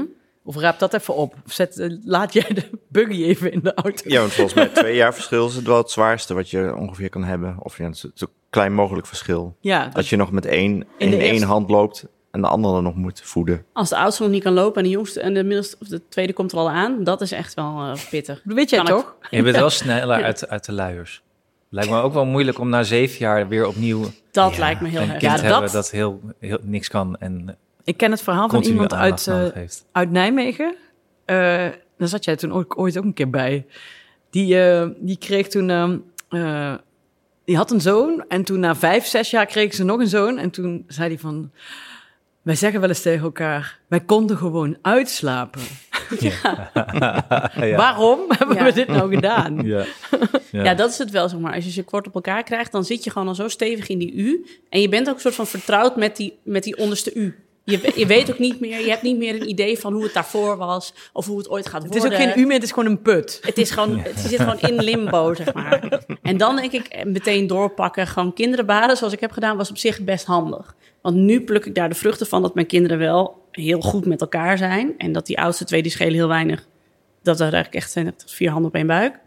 C: Of raap dat even op. Of zet, eh, laat jij de buggy even in de auto.
E: Ja, want volgens mij twee jaar verschil is het wel het zwaarste wat je ongeveer kan hebben. Of ja, zo, zo klein mogelijk verschil.
C: Ja,
E: Als je nog met één in,
C: de
E: één
C: eerste-
E: hand loopt en de andere nog moet voeden.
B: Als de oudste nog niet kan lopen en de jongste en de middelste of de tweede komt er al aan, dat is echt wel eh, pittig.
C: dat weet jij
B: kan ik-
C: toch?
D: Je bent wel sneller uit, uit de luiers. Lijkt me ook wel moeilijk om na zeven jaar weer opnieuw
B: Dat lijkt me heel
D: een
B: erg.
D: kind
C: Ja,
D: te hebben
C: dat-
D: dat, heel, heel niks kan en
C: Ik ken het verhaal van
D: continu
C: iemand uit,
D: aandacht
C: eh,
D: nodig heeft.
C: uit Nijmegen. Eh, daar zat jij toen ook, ooit ook een keer bij. Die, eh, die kreeg toen. ehm, eh, die had een zoon. En toen na vijf, zes jaar kreeg ze nog een zoon. En toen zei hij van. Wij zeggen wel eens tegen elkaar, wij konden gewoon uitslapen.
D: Ah, Ja.
C: Waarom hebben
B: Ja.
C: we dit nou gedaan?
D: Ja. Ja.
B: Ja. dat is het wel, zeg maar. Als je ze kort op elkaar krijgt, dan zit je gewoon al zo stevig in die U. En je bent ook een soort van vertrouwd met die, met die onderste U. Je, we- je weet ook niet meer, je hebt niet meer een idee van hoe het daarvoor was of hoe het ooit gaat
C: Het
B: worden.
C: is ook geen u meer, het is gewoon een put.
B: Het is gewoon, het zit gewoon in limbo, zeg maar. En dan denk ik eh, meteen doorpakken. Gewoon kinderen baren, zoals ik heb gedaan, was op zich best handig. Want nu pluk ik daar de vruchten van dat mijn kinderen wel heel goed met elkaar zijn. En dat die oudste twee, die schelen heel weinig. Dat er eigenlijk echt zijn echt vier handen op één buik.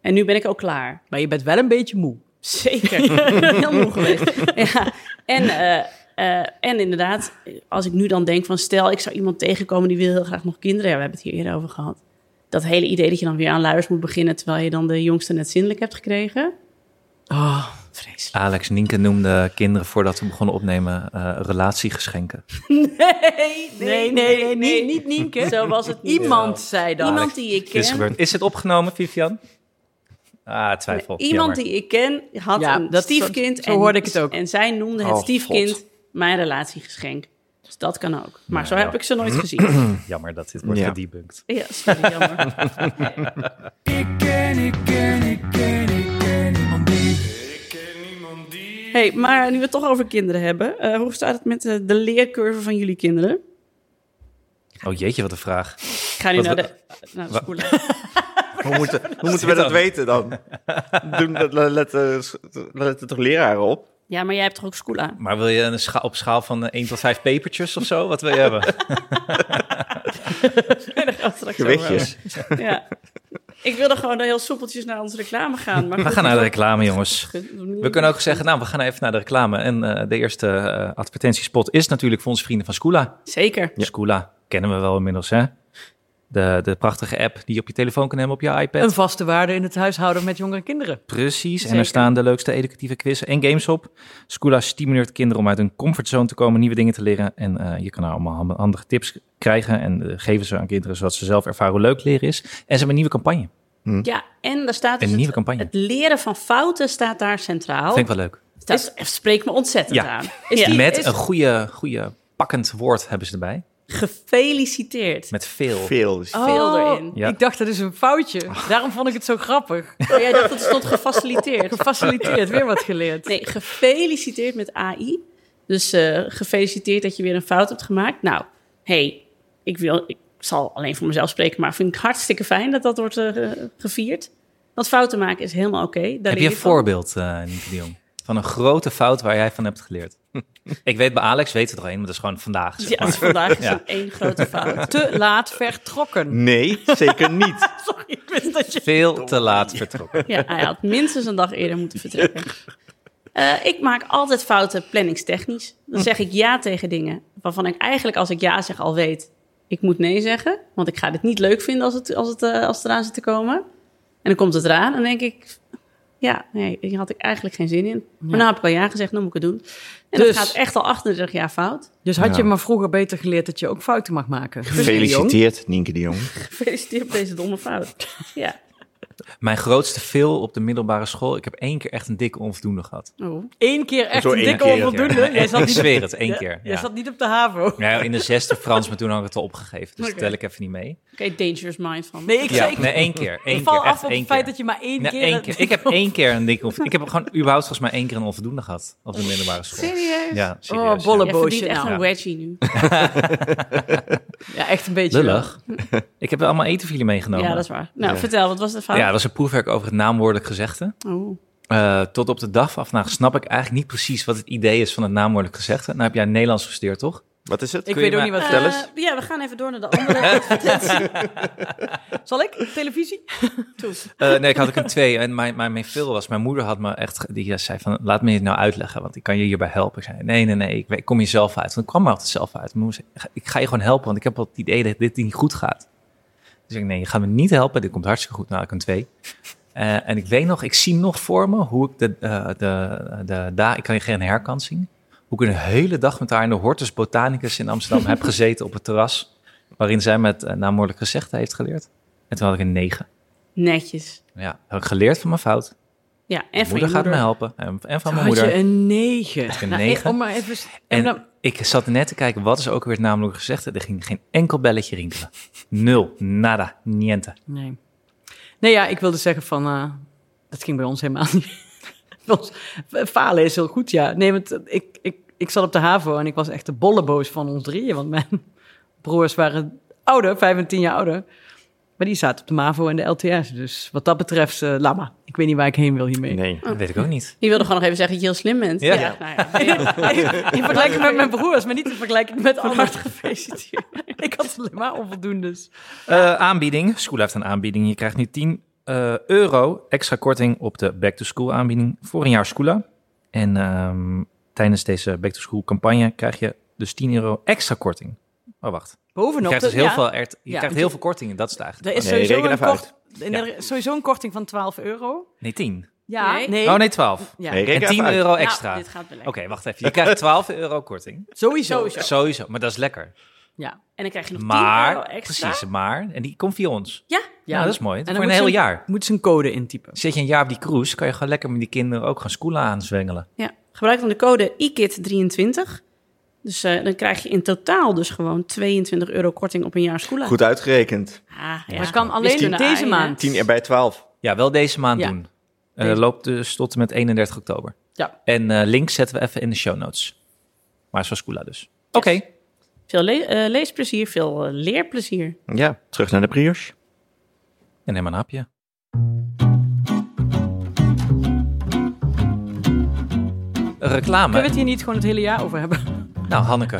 B: En nu ben ik ook klaar.
C: Maar je bent wel een beetje moe.
B: Zeker. Heel moe geweest. Ja. En, eh, eh, en inderdaad, als ik nu dan denk van... stel, ik zou iemand tegenkomen die wil heel graag nog kinderen. Ja, we hebben het hier eerder over gehad. Dat hele idee dat je dan weer aan luiers moet beginnen... terwijl je dan de jongste net zindelijk hebt gekregen.
C: Oh,
B: Vreselijk.
D: Alex Nienke noemde kinderen voordat we begonnen opnemen eh, relatiegeschenken.
B: Nee,
C: nee, nee, nee, niet, niet Nienke.
B: Zo was het niet.
C: Iemand zei dat.
B: Iemand die ik
D: Dit is
B: ken...
D: gebeurd. Is het opgenomen, Vivian? Ah, twijfel.
B: Iemand
D: Jammer.
B: die ik ken had
C: Ja,
B: een
C: dat-
B: stiefkind.
C: zo- zo hoorde ik het ook.
B: En zij noemde het
D: Oh,
B: stiefkind
D: God.
B: mijn relatiegeschenk. Dus dat kan ook. Maar
D: Ja,
B: zo
D: ja.
B: heb ik ze nooit gezien.
D: Jammer dat dit wordt
E: Ja.
D: gedebunked.
B: Ja, sorry, jammer.
F: Ik ken, ik ken, ik ken, ik ken niemand die.
B: Hey, maar nu we het toch over kinderen hebben, eh, hoe staat het met eh, de leercurve van jullie kinderen?
D: Oh jeetje, wat een vraag.
B: Ik ga nu
D: Wat-
B: naar de, naar de spoelen.
E: Hoe moeten, hoe moeten we dat weten dan? Doen, dat- letten, letten toch leraren op?
B: Ja, maar jij hebt toch ook school aan?
D: Maar wil je een scha- op schaal van eh, 1 tot 5 pepertjes of zo? Wat wil je hebben?
B: Daar gaan we straks over
E: Gewichtjes.
B: hebben. Ja. Ik wilde gewoon heel soepeltjes naar onze reclame gaan. Maar
D: We gaan naar de reclame, jongens.
B: reclame.
D: We kunnen ook zeggen, nou, we gaan even naar de reclame. En eh, de eerste eh, advertentiespot is natuurlijk voor onze vrienden van Scoola.
B: Zeker.
D: Scoola kennen we wel inmiddels, hè? De, de prachtige app die je op je telefoon kan hebben op je iPad.
C: Een vaste waarde in het huishouden met jongere kinderen.
D: Precies, en
B: Zeker.
D: er staan de leukste educatieve quizzen en games op. Scoola stimuleert kinderen om uit hun comfortzone te komen, nieuwe dingen te leren. En eh, je kan daar allemaal hand- handige tips krijgen en eh, geven ze aan kinderen zodat ze zelf ervaren hoe leuk leren is. En ze hebben een nieuwe campagne. Hm.
B: Ja, en daar staat dus
D: Een nieuwe
B: het,
D: campagne.
B: het leren van fouten staat daar centraal.
D: Vind ik wel leuk.
B: Dat spreekt me ontzettend
D: Ja.
B: aan. Is die,
D: Met
B: is
D: een goede, goede pakkend woord hebben ze erbij.
B: gefeliciteerd.
D: Met veel.
E: Veel. Dus
C: Oh.
B: Veel erin.
D: Ja. Oh.
C: Ik dacht, dat is een foutje. Daarom vond ik het zo grappig.
B: Oh, jij dacht dat het stond gefaciliteerd.
C: Gefaciliteerd, weer wat geleerd.
B: Nee, gefeliciteerd met AI. Dus eh, gefeliciteerd dat je weer een fout hebt gemaakt. Nou, hey, ik, wil, ik zal alleen voor mezelf spreken, maar vind ik hartstikke fijn dat dat wordt eh, gevierd. Want fouten maken is helemaal oké. Daar
D: Heb
B: leer
D: je een
B: van.
D: voorbeeld, eh Nienke de Jong? Van een grote fout waar jij van hebt geleerd. ik weet, bij Alex weten we er een, maar dat is gewoon vandaag. zeg
B: Ja,
D: maar.
B: dus vandaag is
D: Ja.
B: het één grote fout.
C: Te laat vertrokken.
E: Nee, zeker niet.
B: Sorry, ik wist dat je...
D: Veel te laat vertrokken.
B: Ja, hij had minstens een dag eerder moeten vertrekken. Eh, ik maak altijd fouten planningstechnisch. Dan zeg ik ja tegen dingen waarvan ik eigenlijk als ik ja zeg al weet... ik moet nee zeggen, want ik ga dit niet leuk vinden als het, als het, eh, als het eraan zit te komen. En dan komt het eraan en denk ik... Ja, nee, hier had ik eigenlijk geen zin in. Maar
C: Ja.
B: nou heb ik al ja gezegd, dan moet ik het doen. En
C: Dus-
B: dat gaat echt al 38 jaar fout.
C: Dus had je
E: Ja.
C: maar vroeger beter geleerd dat je ook fouten mag maken. Dus Jong.
E: Gefeliciteerd, Nienke de Jong.
B: Gefeliciteerd met deze domme fout. Ja.
D: Mijn grootste fail op de middelbare school. Ik heb één keer echt een dikke onvoldoende gehad.
B: Oh.
C: Eén keer echt
E: Zo
C: een
E: één
C: dikke
E: keer,
C: onvoldoende.
D: ja.
C: Jij zat
D: Ik
C: niet-
D: zweer het, één
C: Ja,
D: keer,
C: Jij
D: ja.
C: zat niet op de HAVO.
D: Nou, in de zesde Frans, maar toen had ik het al opgegeven. Dus dat
B: Oké.
D: tel ik even niet mee.
B: Oké, dangerous mind van me.
C: Nee, ik
D: Ja,
C: zei... ik-
D: nee, één keer. Één
C: ik val
D: keer,
C: af
D: echt
C: op
D: één
C: het feit
D: keer.
C: dat je maar één
D: Nee,
C: keer...
D: één keer. Ik heb één keer een dikke onvoldoende. Ik heb gewoon überhaupt volgens mij één keer een onvoldoende gehad op de middelbare school.
B: Serieus?
D: Ja, serieus.
C: Oh,
D: ja.
B: Jij verdient
C: bolleboosje.
B: echt
C: Nou,
B: een wedgie nu.
C: ja, echt een beetje...
D: Lullig. Ik heb wel allemaal eten voor jullie meegenomen.
B: Ja, dat is waar. Nou, vertel, wat was de fout?
D: Ja, dat is een proefwerk over het naamwoordelijk gezegde.
B: Oh.
D: Eh, tot op de dag van vandaag snap ik eigenlijk niet precies wat het idee is van het naamwoordelijk gezegde. Nou heb jij Nederlands gestudeerd, toch?
E: Wat is het?
C: Ik
D: Kun je
C: weet ook
D: maar-
C: niet wat...
E: Vertel eens.
B: Eh, ja, we gaan even door naar de andere.
C: Zal ik? Televisie?
D: Eh, nee, ik had ook een twee. En mijn, mijn, mijn veel was, mijn moeder had me echt, ge- die zei van, laat me dit nou uitleggen, want ik kan je hierbij helpen. Ik zei, nee, nee, nee, ik, weet- ik kom je zelf uit. Want ik kwam er altijd zelf uit. Mijn moeder zei, ik ga- ik ga je gewoon helpen, want ik heb wel het idee dat dit niet goed gaat. Dus ik, nee, je gaat me niet helpen, dit komt hartstikke goed. Nou, ik een twee. Eh, en ik weet nog, ik zie nog voor me hoe ik de, eh, de, de, da- ik kan je geen herkant zien, hoe ik een hele dag met haar in de Hortus Botanicus in Amsterdam heb gezeten op het terras, waarin zij met eh, naamwoordelijk gezegde heeft geleerd. En toen had ik een negen.
B: Netjes.
D: Ja, heb ik geleerd van mijn fout.
B: Ja, en
D: Mijn
B: van
D: moeder
B: je
D: gaat me
B: moeder.
D: helpen. En, en van mijn
C: Had je
D: moeder.
C: een negen?
D: Ik een
C: Nou,
D: negen.
C: Om maar even...
D: En
C: En dan,
D: ik zat net te kijken, wat is ook weer het namelijk gezegd? Er ging geen enkel belletje rinkelen. Nul, nada, niente.
C: Nee. Nee, ja, ik wilde zeggen van... eh, dat ging bij ons helemaal niet. Bij ons- eh, Falen is heel goed, ja. Nee, want eh, ik, ik, ik zat op de HAVO en ik was echt de bolleboos van ons drieën. Want mijn broers waren ouder, vijf en tien jaar ouder. Maar die zaten op de MAVO en de LTS. Dus wat dat betreft, eh laat maar. Ik weet niet waar ik heen wil hiermee.
E: Nee.
D: Dat weet ik ook niet.
B: Je wilde gewoon nog even zeggen dat je heel slim bent.
D: Ja.
B: nou ja. Nee,
C: In vergelijking met mijn broers, maar niet in vergelijking met Van harte gefeliciteerd. ik had alleen maar onvoldoendes.
D: Eh, aanbieding. School heeft een aanbieding. Je krijgt nu 10 eh, euro extra korting op de Back to School aanbieding voor een jaar Schoola. En ehm, tijdens deze Back to School campagne krijg je dus 10 euro extra korting. Oh, wacht. Je
C: Bovenop
D: krijgt
C: de-
D: dus heel
C: ja.
D: veel, ert- je
C: Ja,
D: krijgt heel veel kortingen. Dat is het
C: Er
D: eigenlijk.
C: is
E: Nee,
C: sowieso,
E: reken
C: een
E: even
C: kort,
D: Ja.
C: er is sowieso een korting van 12 euro.
D: Nee, 10.
C: Ja,
B: Nee.
C: nee.
D: Oh, nee, 12.
C: Ja.
E: Nee,
D: En
E: reken
D: 10
E: even uit.
D: euro
B: nou,
D: extra.
B: dit gaat
D: Oké,
B: beleven.
D: wacht even. Je krijgt 12 euro korting.
C: Sowieso.
D: Sowieso, maar dat is lekker.
C: Ja.
B: En dan krijg je nog 10 euro
D: Maar,
B: extra.
D: precies, maar. En die komt via ons.
B: Ja,
D: Ja, dat is mooi.
C: dan
D: voor een
C: moet
D: heel
C: ze-
D: jaar.
C: Moet ze een code intypen.
D: Zit je een jaar op die cruise, kan je gewoon lekker met die kinderen ook gaan schoolen aanzwengelen.
B: ja. Gebruik dan de code IKIT23. Dus eh, dan krijg je in totaal dus gewoon 22 euro korting op een jaar school.
E: Goed uitgerekend.
B: Ah, ja.
C: Maar kan alleen
B: Wiskunde A,
C: deze
B: ja.
C: maand.
E: 10 erbij 12.
D: Ja, wel deze maand
C: Ja.
D: doen. Eh,
C: Deze-
D: Loopt dus tot en met 31 oktober.
C: Ja.
D: En eh link zetten we even in de show notes. Maar zo schoola dus. Oké.
B: Veel le- eh, leesplezier, veel eh, leerplezier.
E: Ja, terug naar de priors.
D: En neem maar een hapje. Reclame.
C: Kunnen we het hier niet gewoon het hele jaar over hebben?
D: Nou, Hanneke,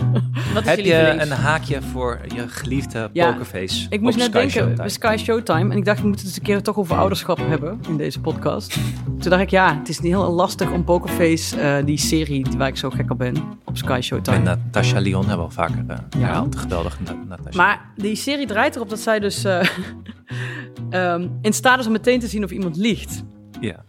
B: Wat is
D: heb
B: je
D: je
B: lievelings?
D: een haakje voor je geliefde
C: Ja.
D: pokerface?
C: Ik moest
D: op
C: net
D: Sky
C: denken,
D: Showtime?
C: bij Sky Showtime. En ik dacht, we moeten het eens een keer toch over ouderschap hebben in deze podcast. Toen dacht ik, ja, het is niet heel lastig om Pokerface, eh, die serie waar ik zo gek op ben, op Sky Showtime.
D: En Natasha Lyon hebben we al vaker eh
C: Ja.
D: herhaald. Geweldig, Na- Natasha.
C: Maar die serie draait erop dat zij dus eh, ehm, in staat is om meteen te zien of iemand liegt.
D: Ja.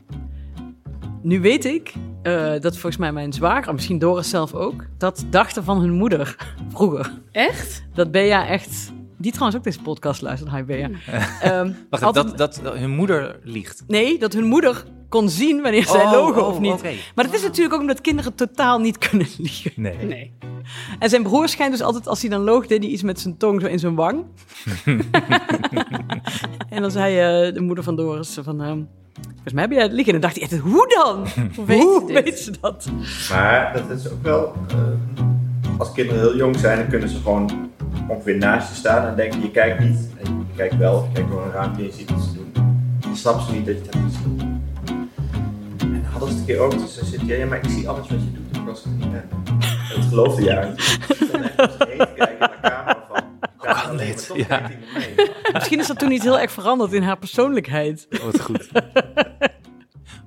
C: Nu weet ik eh, dat volgens mij mijn zwager, misschien Doris zelf ook, dat dachten van hun moeder vroeger.
B: Echt?
C: Dat Bea echt. Die trouwens ook deze podcast luistert. Hi Bea. Ehm,
D: Hmm. Wacht,
C: altijd-
D: dat, dat, dat hun moeder liegt.
C: Nee, dat hun moeder kon zien wanneer zij
D: Oh,
C: logen
D: oh,
C: of niet.
D: oké.
C: Maar dat is natuurlijk ook omdat kinderen totaal niet kunnen liegen.
D: Nee.
B: Nee.
C: En zijn broer schijnt dus altijd, als hij dan loog, deed hij iets met zijn tong zo in zijn wang. en dan zei eh, de moeder van Doris van... ehm, Volgens mij heb jij het liggen. En dan dacht hij, echt, hoe dan? Hoe weet,
B: Hoe dit?
C: weet ze dat?
E: Maar dat is ook wel... eh, als kinderen heel jong zijn, dan kunnen ze gewoon ongeveer naast je staan en denken, je kijkt niet. En je kijkt wel, je kijkt door een raampje en je ziet wat ze doen. Dan snappen ze niet dat je het hebt gezien. En dan hadden ze het een keer ook, dus dan zit jij, ja, maar ik zie alles wat je doet, ook als ik er niet ben. En dat geloofde jij eigenlijk. niet. Dan echt om zich heen te kijken naar de camera van... Hoe kan
D: dit?
E: Toch
D: Ja.
E: kijkt hij nog mee.
C: Misschien is dat toen niet heel erg veranderd in haar persoonlijkheid.
D: Wat goed.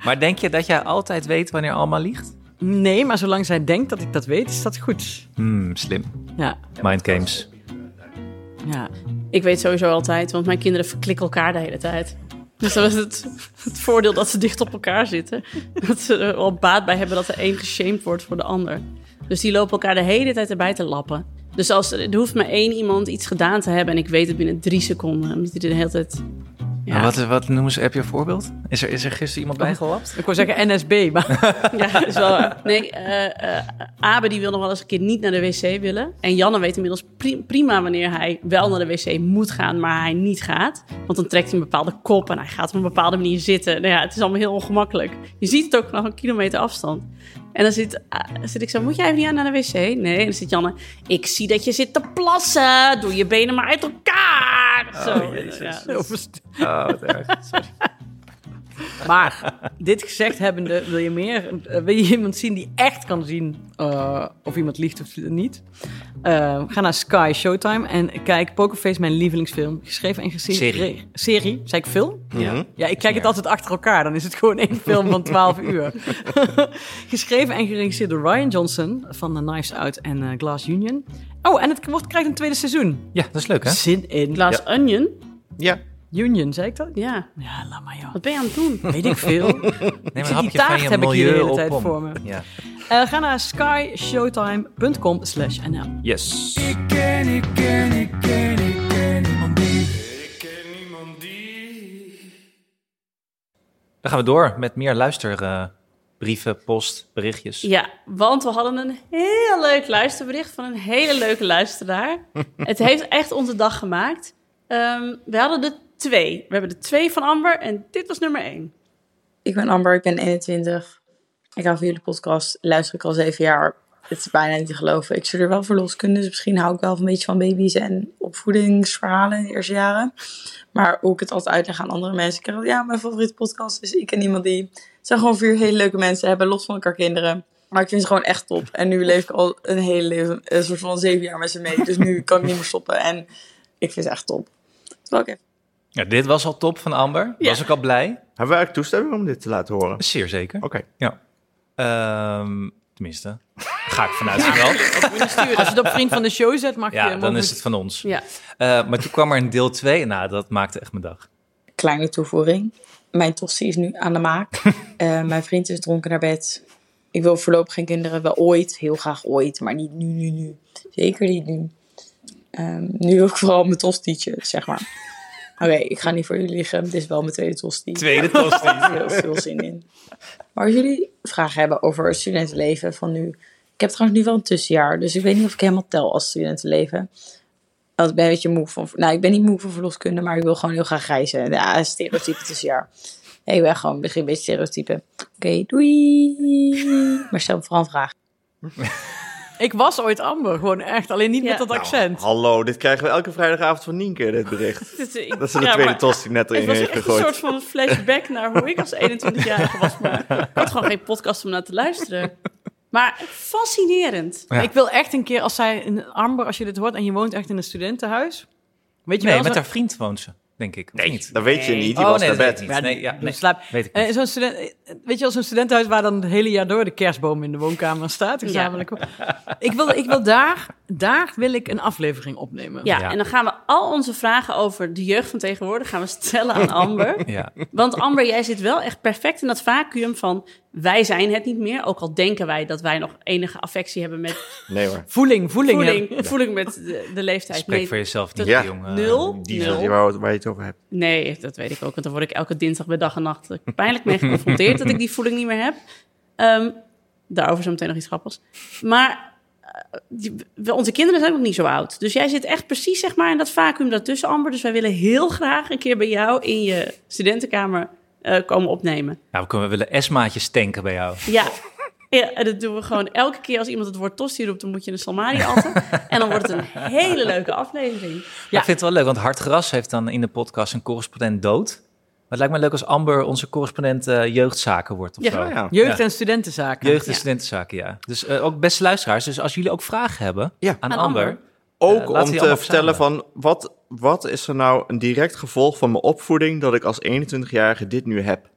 D: maar denk je dat jij altijd weet wanneer Alma liegt?
C: Nee, maar zolang zij denkt dat ik dat weet, is dat goed.
D: Hmm, slim.
C: Ja,
D: Mind games.
C: ja.
B: Ik weet sowieso altijd, want mijn kinderen verklikken elkaar de hele tijd. Dus dat is het, het voordeel dat ze dicht op elkaar zitten. Dat ze er wel baat bij hebben dat de een geshamed wordt voor de ander. Dus die lopen elkaar de hele tijd erbij te lappen. Dus als, er hoeft maar één iemand iets gedaan te hebben en ik weet het binnen drie seconden. Omdat hij de hele tijd... Ja,
D: Maar Wat, wat noemen ze, heb je een voorbeeld? Is er, is er gisteren iemand
C: Oh.
D: bijgelapt?
C: Ik wou zeggen NSB, maar
B: ja dat is wel waar. Nee, eh, eh, Abe die wil nog wel eens een keer niet naar de wc willen. En Janne weet inmiddels pri- prima wanneer hij wel naar de wc moet gaan, maar hij niet gaat. Want dan trekt hij een bepaalde kop en hij gaat op een bepaalde manier zitten. Nou ja, het is allemaal heel ongemakkelijk. Je ziet het ook vanaf een kilometer afstand. En dan zit, ah, zit ik zo, moet jij even niet aan naar de wc? Nee, en dan zit Janne, ik zie dat je zit te plassen. Doe je benen maar uit elkaar. zo,
D: Jezus.
B: Ja, dat is-
C: Overst-
D: Oh, wat erg. Sorry.
C: Maar dit gezegd hebbende, wil je meer? eh, Wil je iemand zien die echt kan zien eh, of iemand liegt of niet? Eh, ga naar Sky Showtime en kijk Pokerface, mijn lievelingsfilm. Geschreven en geserie.
D: Serie.
C: Serie, zei ik film?
E: Mhm.
C: Ja, ik kijk het altijd achter elkaar. Dan is het gewoon één film van 12 uur. Geschreven en geregisseerd door Ryan Johnson van The Knives Out en eh, Glass Union. Oh, en het wordt, krijgt een tweede seizoen.
D: Ja, dat is leuk hè?
C: Zin in.
B: Glass onion?
E: Ja.
C: Union, zei ik dat?
B: Ja,
C: Ja, laat maar joh.
B: wat ben je aan het doen?
C: Weet ik veel.
D: Neem
C: zit die taart heb ik hier de hele tijd
D: op om.
C: voor me.
D: Ja.
C: Eh, ga naar skyshowtime.com slash nl.
D: Yes.
F: Ik ken, ik ken, ik ken, ik ken niemand die. Ik ken niemand die.
D: Dan gaan we door met meer luisterbrieven, post, berichtjes.
B: Ja, want we hadden een heel leuk luisterbericht van een hele leuke luisteraar. het heeft echt onze dag gemaakt. Ehm, we hadden er twee. We hebben er twee van Amber en dit was nummer één.
G: Ik ben Amber, ik ben 21. Ik hou van jullie podcast, luister ik al zeven jaar. Het is bijna niet te geloven. Ik studeer wel verloskunde, dus misschien hou ik wel een beetje van baby's en opvoedingsverhalen in de eerste jaren. Maar hoe ik het altijd uitleg aan andere mensen, ik zeg, ja, mijn favoriete podcast is Ik en Iemand Die. Het zijn gewoon vier hele leuke mensen, hebben los van elkaar kinderen. Maar ik vind ze gewoon echt top. En nu leef ik al een hele leven, een soort van zeven jaar met ze mee. Dus nu kan ik niet meer stoppen. En ik vind ze echt top. Terwijl ik even
D: Ja, dit was al top van Amber. Was ik al blij.
E: Hebben we eigenlijk toestemming om dit te laten horen? Oké.
D: Zeer zeker. Ja. Ehm, tenminste, ga ik vanuit wel.
C: Als je het op vriend van de show zet, mag je...
D: Ja, dan
C: mogen
D: is
C: we-
D: het van ons.
B: Ja.
D: Eh, maar toen kwam er een deel 2. Nou, dat maakte echt mijn dag.
G: kleine toevoeging. Mijn tossie is nu aan de maak. Eh, mijn vriend is dronken naar bed. Ik wil voorlopig geen kinderen. Wel ooit, heel graag ooit. Maar niet nu, nu, nu. Zeker niet nu. Ehm, nu wil ik vooral mijn tostietje, zeg maar. Oké, ik ga niet voor jullie liggen. Dit is wel mijn tweede tostie.
D: Tweede post.
G: Daar heb ik heel veel zin in. Maar als jullie vragen hebben over het studentenleven van nu. Ik heb trouwens nu wel een tussenjaar, dus ik weet niet of ik helemaal tel als studentenleven. Want ik ben een beetje moe van. Nou, ik ben niet moe van verloskunde, maar ik wil gewoon heel graag reizen. Ja, stereotype tussenjaar. Ja, ik ben gewoon begin een beetje stereotype. Oké, doei. Maar stel me vooral een vraag.
C: Ik was ooit Amber, gewoon echt. Alleen niet
B: Ja.
C: met dat
D: Nou,
C: accent.
E: Nou, Hallo, dit krijgen we elke vrijdagavond van Nienke, dit bericht.
B: Dit is- ik-
E: Dat is de
B: ja,
E: tweede
B: maar
E: tos die net
B: Het
E: erin
B: was
E: heeft
B: echt een soort
E: gegooid.
B: van flashback naar hoe ik als 21-jarige was. Maar ik had gewoon geen podcast om naar te luisteren. Maar fascinerend.
D: Ja.
C: Ik wil echt een keer, als zij... een Amber, als je dit hoort en je woont echt in een studentenhuis... Weet je
D: Nee,
C: wel...
D: met
C: zo-
D: haar vriend woont ze, denk ik. Of niet?
E: Dat weet je niet, die
D: Oh,
E: was
D: nee,
E: naar
D: dat
E: bed.
D: weet ik niet. Dus Nee, ja, nee.
C: slaap.
D: Weet ik
C: Eh,
D: niet.
C: zo'n student, eh, weet je wel, zo'n studentenhuis waar dan het hele jaar door de kerstboom in de woonkamer staat. Gezamenlijk. Ik, wil, ik wil daar, daar wil ik een aflevering opnemen.
B: Ja,
D: Ja.
B: en dan gaan we al onze vragen over de jeugd van tegenwoordig gaan we stellen aan Amber.
D: Ja.
B: Want Amber, jij zit wel echt perfect in dat vacuüm van wij zijn het niet meer. Ook al denken wij dat wij nog enige affectie hebben met
E: Nee hoor.
C: Voeling, voeling.
B: voeding, voeling met de, de leeftijd.
D: Spreek
B: nee,
D: voor jezelf niet,
E: Ja. Oh,
D: jongen.
B: nul,
E: Die
B: nul.
E: die waar, waar je het over hebt.
B: Nee, dat weet ik ook. Want dan word ik elke dinsdag bij dag en nacht eh, pijnlijk mee geconfronteerd dat ik die voeling niet meer heb. Ehm, daarover zo meteen nog iets grappigs. Maar eh, die- we- onze kinderen zijn ook niet zo oud. Dus jij zit echt precies zeg maar, in dat vacuüm daartussen, Amber. Dus wij willen heel graag een keer bij jou in je studentenkamer eh, komen opnemen.
D: Nou, we, kunnen, we willen S-maatjes tanken bij jou.
B: Ja. ja, en dat doen we gewoon elke keer als iemand het woord tosti roept, dan moet je een salmari atten. En dan wordt het een hele leuke aflevering.
D: Maar Ik vind het wel leuk, want Hart Gras heeft dan in de podcast een correspondent dood. Maar het lijkt me leuk als Amber onze correspondent eh, jeugdzaken wordt of
B: Ja.
D: zo.
E: Oh, ja.
C: Jeugd-
D: Ja.
C: en studentenzaken.
D: Jeugd- en
B: Ja.
D: studentenzaken, ja. Dus eh, ook beste luisteraars, dus als jullie ook vragen hebben
E: Ja.
D: aan,
B: Aan
D: Amber...
B: Amber.
D: Eh, laten
E: Ook
D: we
E: om
D: die
E: te
D: allemaal
E: vertellen van, wat, wat is er nou een direct gevolg van mijn opvoeding dat ik als 21-jarige dit nu heb?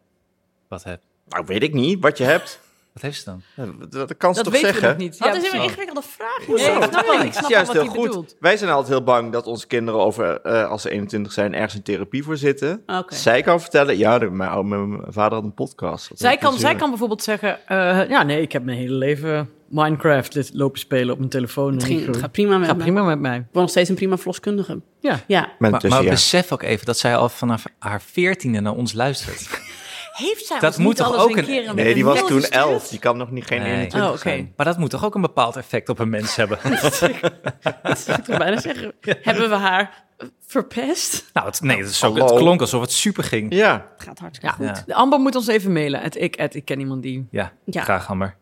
D: Wat heb
E: Nou, weet ik niet, wat je hebt.
D: Wat heeft ze dan?
E: Dat, dat kan ze
C: dat
E: toch
C: weten
E: zeggen?
C: we nog niet.
B: Dat
C: Ja,
B: is een
C: precies.
B: ingewikkelde vraag.
C: Nee, ik
B: Hoezo?
C: snap wel, ik
E: Het
C: snap
E: is
C: wel
E: juist
C: wat
E: heel
C: hij
E: goed.
C: bedoelt.
E: Wij zijn altijd heel bang dat onze kinderen over, eh, als ze 21 zijn ergens in therapie voor zitten.
B: Oké.
E: Zij kan vertellen, ja, de- mijn, oude- mijn vader had een podcast. Dat
C: Zij
E: heeft
C: kan,
E: natuurlijk-
C: zij kan bijvoorbeeld zeggen, eh, ja nee, ik heb mijn hele leven Minecraft dit lopen spelen op mijn telefoon.
B: Het,
C: en
B: ging,
C: ik-
B: het gaat prima met
C: gaat
B: me.
C: prima met mij.
B: Ik word nog steeds een prima verloskundige.
C: Ja.
B: Ja.
E: Maar,
D: Maar, maar
E: intussen, ja.
D: besef ook even dat zij al vanaf haar veertiende naar ons luistert.
B: Heeft zij
D: Dat
B: ons niet
D: moet toch
B: alles
D: ook
B: een
D: een-
B: keer een
E: Nee, die was
B: mail
E: toen
B: gestuurd?
E: 11. Die kan nog niet geen
D: Nee.
E: 21
C: Oh, oké.
E: zijn.
D: Maar dat moet toch ook een bepaald effect op een mens hebben?
B: Ik wil bijna zeggen, hebben we haar verpest?
D: nou, het, nee, dat is zo,
E: Hallo.
D: het klonk alsof het super ging.
E: Ja,
B: Het gaat
C: Ja.
B: hartstikke goed.
D: Ja.
C: De Amber moet ons even mailen. Het ik, at, ik ken iemand die...
D: Ja,
B: Ja.
D: graag Amber.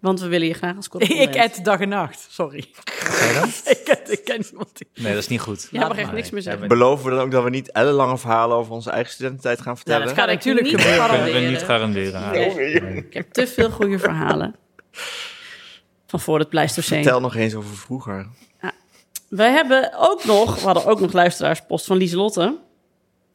B: Want we willen je graag als correspondent.
C: ik at dag en nacht, sorry.
D: Zij dan?
C: ik, at, ik ken iemand die...
D: Nee, dat is niet goed.
B: Ja, mag echt niks meer zeggen.
E: beloven we dan ook dat we niet ellenlange verhalen over onze eigen studententijd gaan
B: Nou,
E: vertellen?
B: dat kan ik
C: Natuurlijk
B: natuurlijk niet
C: kunnen we-
D: Kunnen we
B: garanderen.
D: niet garanderen. Ah,
B: Nee. Ik heb te veel goede verhalen. Van voor het Pleistocene.
E: Vertel nog eens over vroeger.
B: We hebben ook nog, we hadden ook nog luisteraarspost van Lieselotte.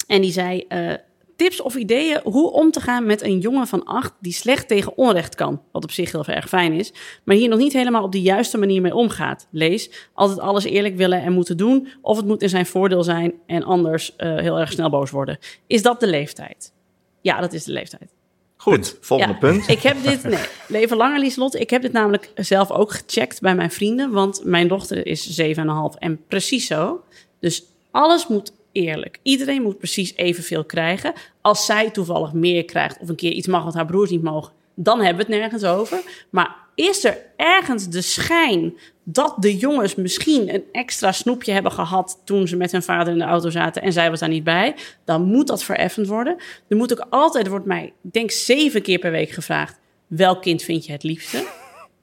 B: En die zei, eh, tips of ideeën hoe om te gaan met een jongen van acht die slecht tegen onrecht kan. Wat op zich heel erg fijn is. Maar hier nog niet helemaal op de juiste manier mee omgaat. Lees, altijd alles eerlijk willen en moeten doen. Of het moet in zijn voordeel zijn en anders eh, heel erg snel boos worden. Is dat de leeftijd? Ja, dat is de leeftijd.
E: Goed, volgende
B: Ja,
E: punt.
B: Ik heb dit, nee, leven langer Lieslot. Ik heb dit namelijk zelf ook gecheckt bij mijn vrienden. Want mijn dochter is 7,5 en precies zo. Dus alles moet eerlijk. Iedereen moet precies evenveel krijgen. Als zij toevallig meer krijgt of een keer iets mag wat haar broers niet mogen, dan hebben we het nergens over. Maar is er ergens de schijn dat de jongens misschien een extra snoepje hebben gehad toen ze met hun vader in de auto zaten en zij was daar niet bij, dan moet dat vereffend worden. Er moet ook altijd, er wordt mij, ik denk zeven keer per week gevraagd, welk kind vind je het liefste?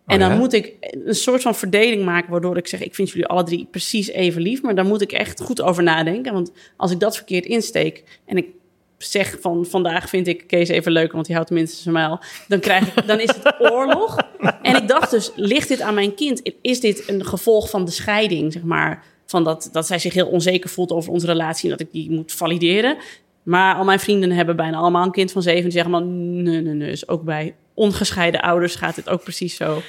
B: En dan
D: ja?
B: moet ik een soort van verdeling maken, waardoor ik zeg: ik vind jullie alle drie precies even lief, maar daar moet ik echt goed over nadenken. Want als ik dat verkeerd insteek en ik zeg van vandaag vind ik Kees even leuk, want hij houdt tenminste zijn mijl, dan, krijg ik, dan is het oorlog. En ik dacht dus, ligt dit aan mijn kind? Is dit een gevolg van de scheiding, zeg maar? Van dat, dat zij zich heel onzeker voelt over onze relatie en dat ik die moet valideren. Maar al mijn vrienden hebben bijna allemaal een kind van zeven. Die zeggen maar, nee, nee, nee. Dus ook bij ongescheiden ouders gaat dit ook precies zo.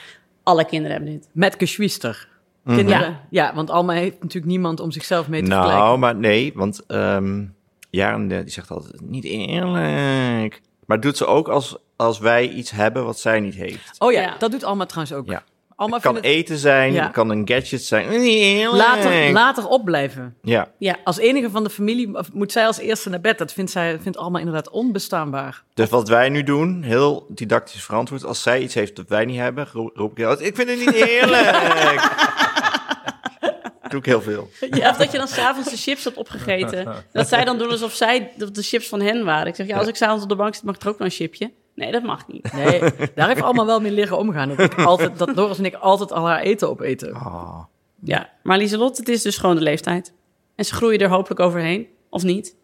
B: Alle kinderen hebben dit.
C: Met geschwister. Kinderen. Ja. want Alma heeft natuurlijk niemand om zichzelf mee te vergelijken.
E: Mhm. Nou, maar nee, want ehm Jaren eh, die zegt altijd niet eerlijk. Maar doet ze ook als, als wij iets hebben wat zij niet heeft.
C: Oh ja,
B: Ja.
C: dat doet Alma trouwens ook.
E: Ja.
C: Alma
E: Het kan
C: vindt het
E: eten zijn,
C: Ja.
E: het kan een gadget zijn. Niet eerlijk.
C: later, later opblijven.
E: Ja,
B: Ja,
C: Als enige van de familie of moet zij als eerste naar bed. Dat vindt, zij, vindt Alma inderdaad onbestaanbaar.
E: dus wat wij nu doen, heel didactisch verantwoord. Als zij iets heeft dat wij niet hebben, ro- roep ik altijd, ik vind het niet eerlijk. doe ik heel veel.
B: Ja, of dat je dan s'avonds de chips had opgegeten. Dat zij dan doen alsof zij dat de chips van hen waren. Ik zeg, ja, als ik s'avonds op de bank zit, mag ik er ook wel een chipje? Nee, dat mag niet.
C: Nee, daar heeft Alma wel mee leren omgaan. Dat, ik altijd, dat Doris en ik altijd al haar eten opeten.
E: Ah,
B: Ja, maar Lieselot, het is dus gewoon de leeftijd. En ze groeien er hopelijk overheen, of niet.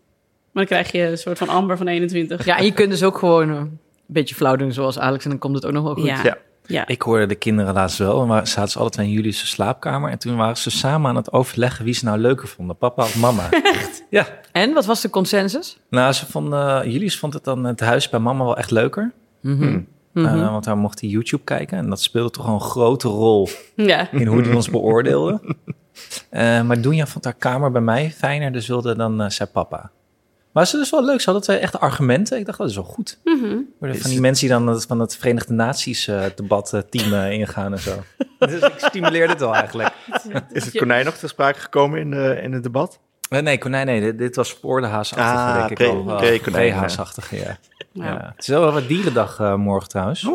B: Maar dan krijg je een soort van amber van 21.
C: Ja, en je kunt dus ook gewoon eh, een beetje flauw doen zoals Alex. En dan komt het ook nog wel goed.
B: Ja.
E: ja.
B: Ja.
D: Ik hoorde de kinderen laatst wel. En waar- zaten ze alle twee in Julius' slaapkamer. En toen waren ze samen aan het overleggen wie ze nou leuker vonden. Papa of mama. Echt? Ja.
C: En, wat was de consensus?
D: Nou, ze vonden, Julius vond het dan eh, het huis bij mama wel echt leuker. Eh, want daar mocht hij YouTube kijken. En dat speelde toch wel een grote rol
B: ja.
D: in hoe die ons beoordeelde. Eh, maar Doenja vond haar kamer bij mij fijner, dus wilde dan eh, zei papa. Maar ze is wel leuk, ze hadden twee echte argumenten. Ik dacht, oh, dat is wel goed. Worden
E: Is
D: Van die
E: het-
D: mensen die dan het- van het Verenigde Naties eh, debat eh, team eh, ingaan en zo. Dus ik stimuleerde het wel eigenlijk.
E: Is het konijn nog ter sprake gekomen in, de, in het debat?
D: Eh, nee, konijn, nee, dit, dit was spoordehaasachtig.
E: Ah,
D: denk ik
E: pre-
D: wel.
E: pre-
D: Eh,
E: konijn,
D: Pre-haasachtig, ja.
B: Ja.
D: Ja. Het is wel wat dierendag eh, morgen trouwens.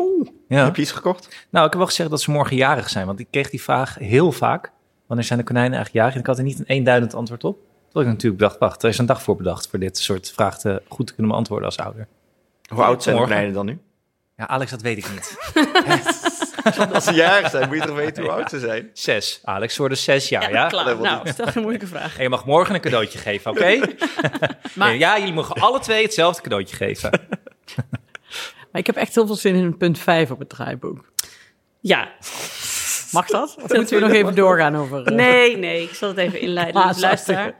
D: ja.
E: Heb je iets gekocht?
D: Nou, ik heb wel gezegd dat ze morgen jarig zijn, want ik kreeg die vraag heel vaak. Wanneer zijn de konijnen eigenlijk jarig? En ik had er niet een eenduidend antwoord op. Terwijl ik natuurlijk dacht, wacht, er is een dag voor bedacht voor dit soort vragen te, goed te kunnen beantwoorden als ouder.
E: Hoe oud zijn de
D: Morgen.
E: konijnen dan nu?
D: Ja, Alex, dat weet ik niet.
E: Als ze jarig zijn, moet je toch weten hoe oud ze zijn?
D: Zes. Alex, ze worden zes jaar, ja?
B: Ja, klaar. Nou, stel geen moeilijke vraag.
D: En je mag morgen een cadeautje geven, oké? Nee, ja, jullie mogen alle twee hetzelfde cadeautje geven.
C: Maar ik heb echt heel veel zin in punt 5 op het draaiboek.
B: Ja,
C: Mag dat? Of moeten we nog even Ah, doorgaan over... eh,
B: nee, nee. Ik zal het even inleiden.
C: Klaas,
B: Luister.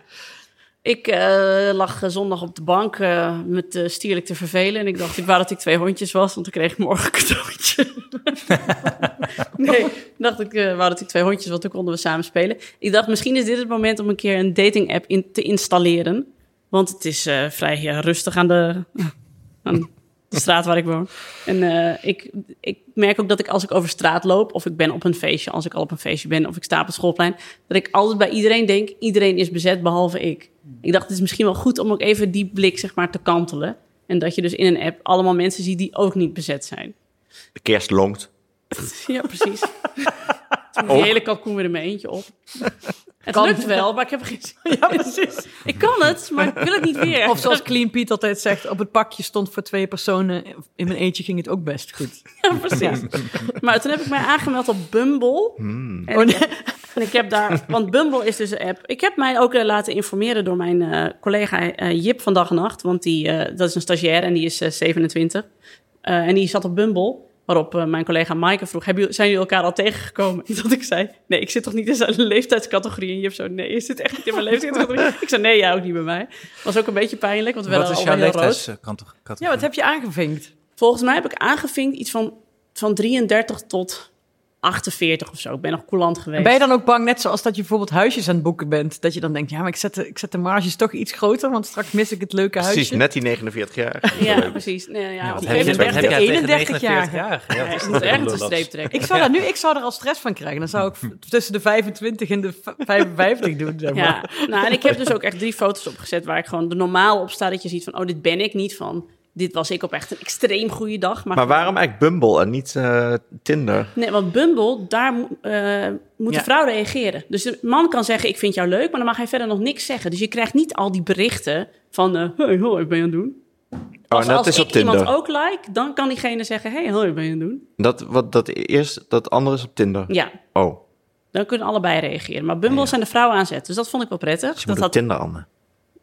B: Ik eh, lag eh, zondag op de bank eh, me te stierlijk te vervelen. En ik dacht, ik wou dat ik twee hondjes was, want dan kreeg ik morgen een cadeautje. nee, ik dacht ik, eh wou dat ik twee hondjes was, want dan konden we samen spelen. Ik dacht, misschien is dit het moment om een keer een dating app in, te installeren. Want het is eh, vrij eh, rustig aan de, aan de straat waar ik woon. En eh, ik, ik merk ook dat ik als ik over straat loop, of ik ben op een feestje, als ik al op een feestje ben, of ik sta op het schoolplein, dat ik altijd bij iedereen denk, iedereen is bezet behalve ik. Ik dacht, het is misschien wel goed om ook even die blik zeg maar, te kantelen. En dat je dus in een app allemaal mensen ziet die ook niet bezet zijn.
E: De kerst longt.
B: Ja, precies. Toen die hele kalkoen weer in mijn eentje op. Het lukt wel, maar ik heb er geen zin in. Ik kan het, maar ik wil het niet weer.
C: Of zoals Clean Piet altijd zegt, op het pakje stond voor twee personen. In mijn eentje ging het ook best goed.
B: Ja, precies. Maar toen heb ik mij aangemeld op Bumble.
D: Hmm.
B: En, ik heb, en ik heb daar, want Bumble is dus een app. Ik heb mij ook eh, laten informeren door mijn eh, collega eh, Jip van Dag en Nacht. Want die, eh, dat is een stagiair en die is eh, 27. Eh, en die zat op Bumble. Waarop eh, mijn collega Maaike vroeg, "Hebben jullie- zijn jullie elkaar al tegengekomen? Dat ik zei, nee, ik zit toch niet in zijn leeftijdscategorie? En Jip zo, nee, je zit echt niet in mijn leeftijdscategorie. ik zei, nee, jij ook niet bij mij. Was ook een beetje pijnlijk, want we
D: Wat
B: werden
D: is
B: allemaal
D: jouw Eh,
B: heel rood.
D: leeftijdscategorie?
C: Ja, wat heb je aangevinkt?
B: Volgens mij heb ik aangevinkt iets van, van 33 tot 48 of zo. Ik ben nog coulant geweest.
C: En ben je dan ook bang, net zoals dat je bijvoorbeeld huisjes aan het boeken bent, dat je dan denkt, ja, maar ik zet de, ik zet de marges toch iets groter, want straks mis ik het leuke huisje.
E: Precies, net die 49 jaar.
B: Ja, precies. Nee, ja,
D: Ja,
B: op
D: wat
B: een
D: heb je,
B: gegeven
D: wat heb
B: moment
D: jij
B: echt-
D: tegen
C: 31 jaar.
D: 49-jarige? Ja,
B: Ja,
D: dat is
B: je moet
D: toch
B: ergens een
D: lullig.
B: streep trekken.
C: Ik zou, daar nu, ik zou er al stress van krijgen. Dan zou ik v- tussen de 25 en de v- 55 doen, zeg maar.
B: Ja, nou, en ik heb dus ook echt drie foto's opgezet waar ik gewoon de normaal op sta dat je ziet van, oh, dit ben ik niet van. Dit was ik op echt een extreem goede dag. Maar,
E: Maar waarom eigenlijk Bumble en niet eh, Tinder?
B: Nee, want Bumble, daar mo- eh, moet
C: Ja.
B: de vrouw reageren. Dus de man kan zeggen, ik vind jou leuk, maar dan mag hij verder nog niks zeggen. Dus je krijgt niet al die berichten van, eh hey, hoi, wat ben je aan het doen?
E: Oh,
B: Als,
E: en dat
B: als
E: is op
B: ik iemand
E: Tinder.
B: ook like, dan kan diegene zeggen... hey, hoi, ben je aan het doen?
E: Dat, wat, dat, eerst, dat andere is op Tinder.
B: Ja,
E: Oh,
B: dan kunnen allebei reageren. Maar Bumble zijn de vrouwen aan zet. Dus dat vond ik wel prettig.
E: ze
B: dat
E: moeten
B: had,
E: Tinder aan.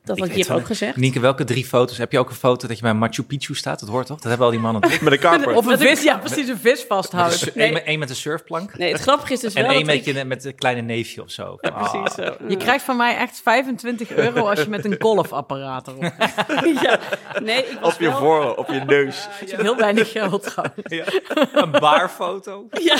B: dat
D: Ik
B: had
D: weet
B: Jip
D: wel-
B: ook gezegd.
D: Nienke, welke drie foto's? Heb je ook een foto dat je bij Machu Picchu staat? Dat hoort toch? Dat hebben al die mannen. toch?
E: Met een karper.
C: Of een vis, ja, precies, een vis vasthouden.
D: Dus
B: Nee.
D: één met- één met een surfplank.
B: Nee, het grappige is dus
D: En
B: wel
D: één
B: dat
D: met,
B: ik...
D: je, met een kleine neefje of zo. Ah,
B: Ja, precies zo.
C: Je krijgt van mij echt 25 euro als je met een golfapparaat erop. Dat
B: ja. Nee, ik was
E: Op je
B: wel-
E: voor, op je neus.
C: is heel weinig geld trouwens.
D: Ah, ja. Een baarfoto.
B: Ja.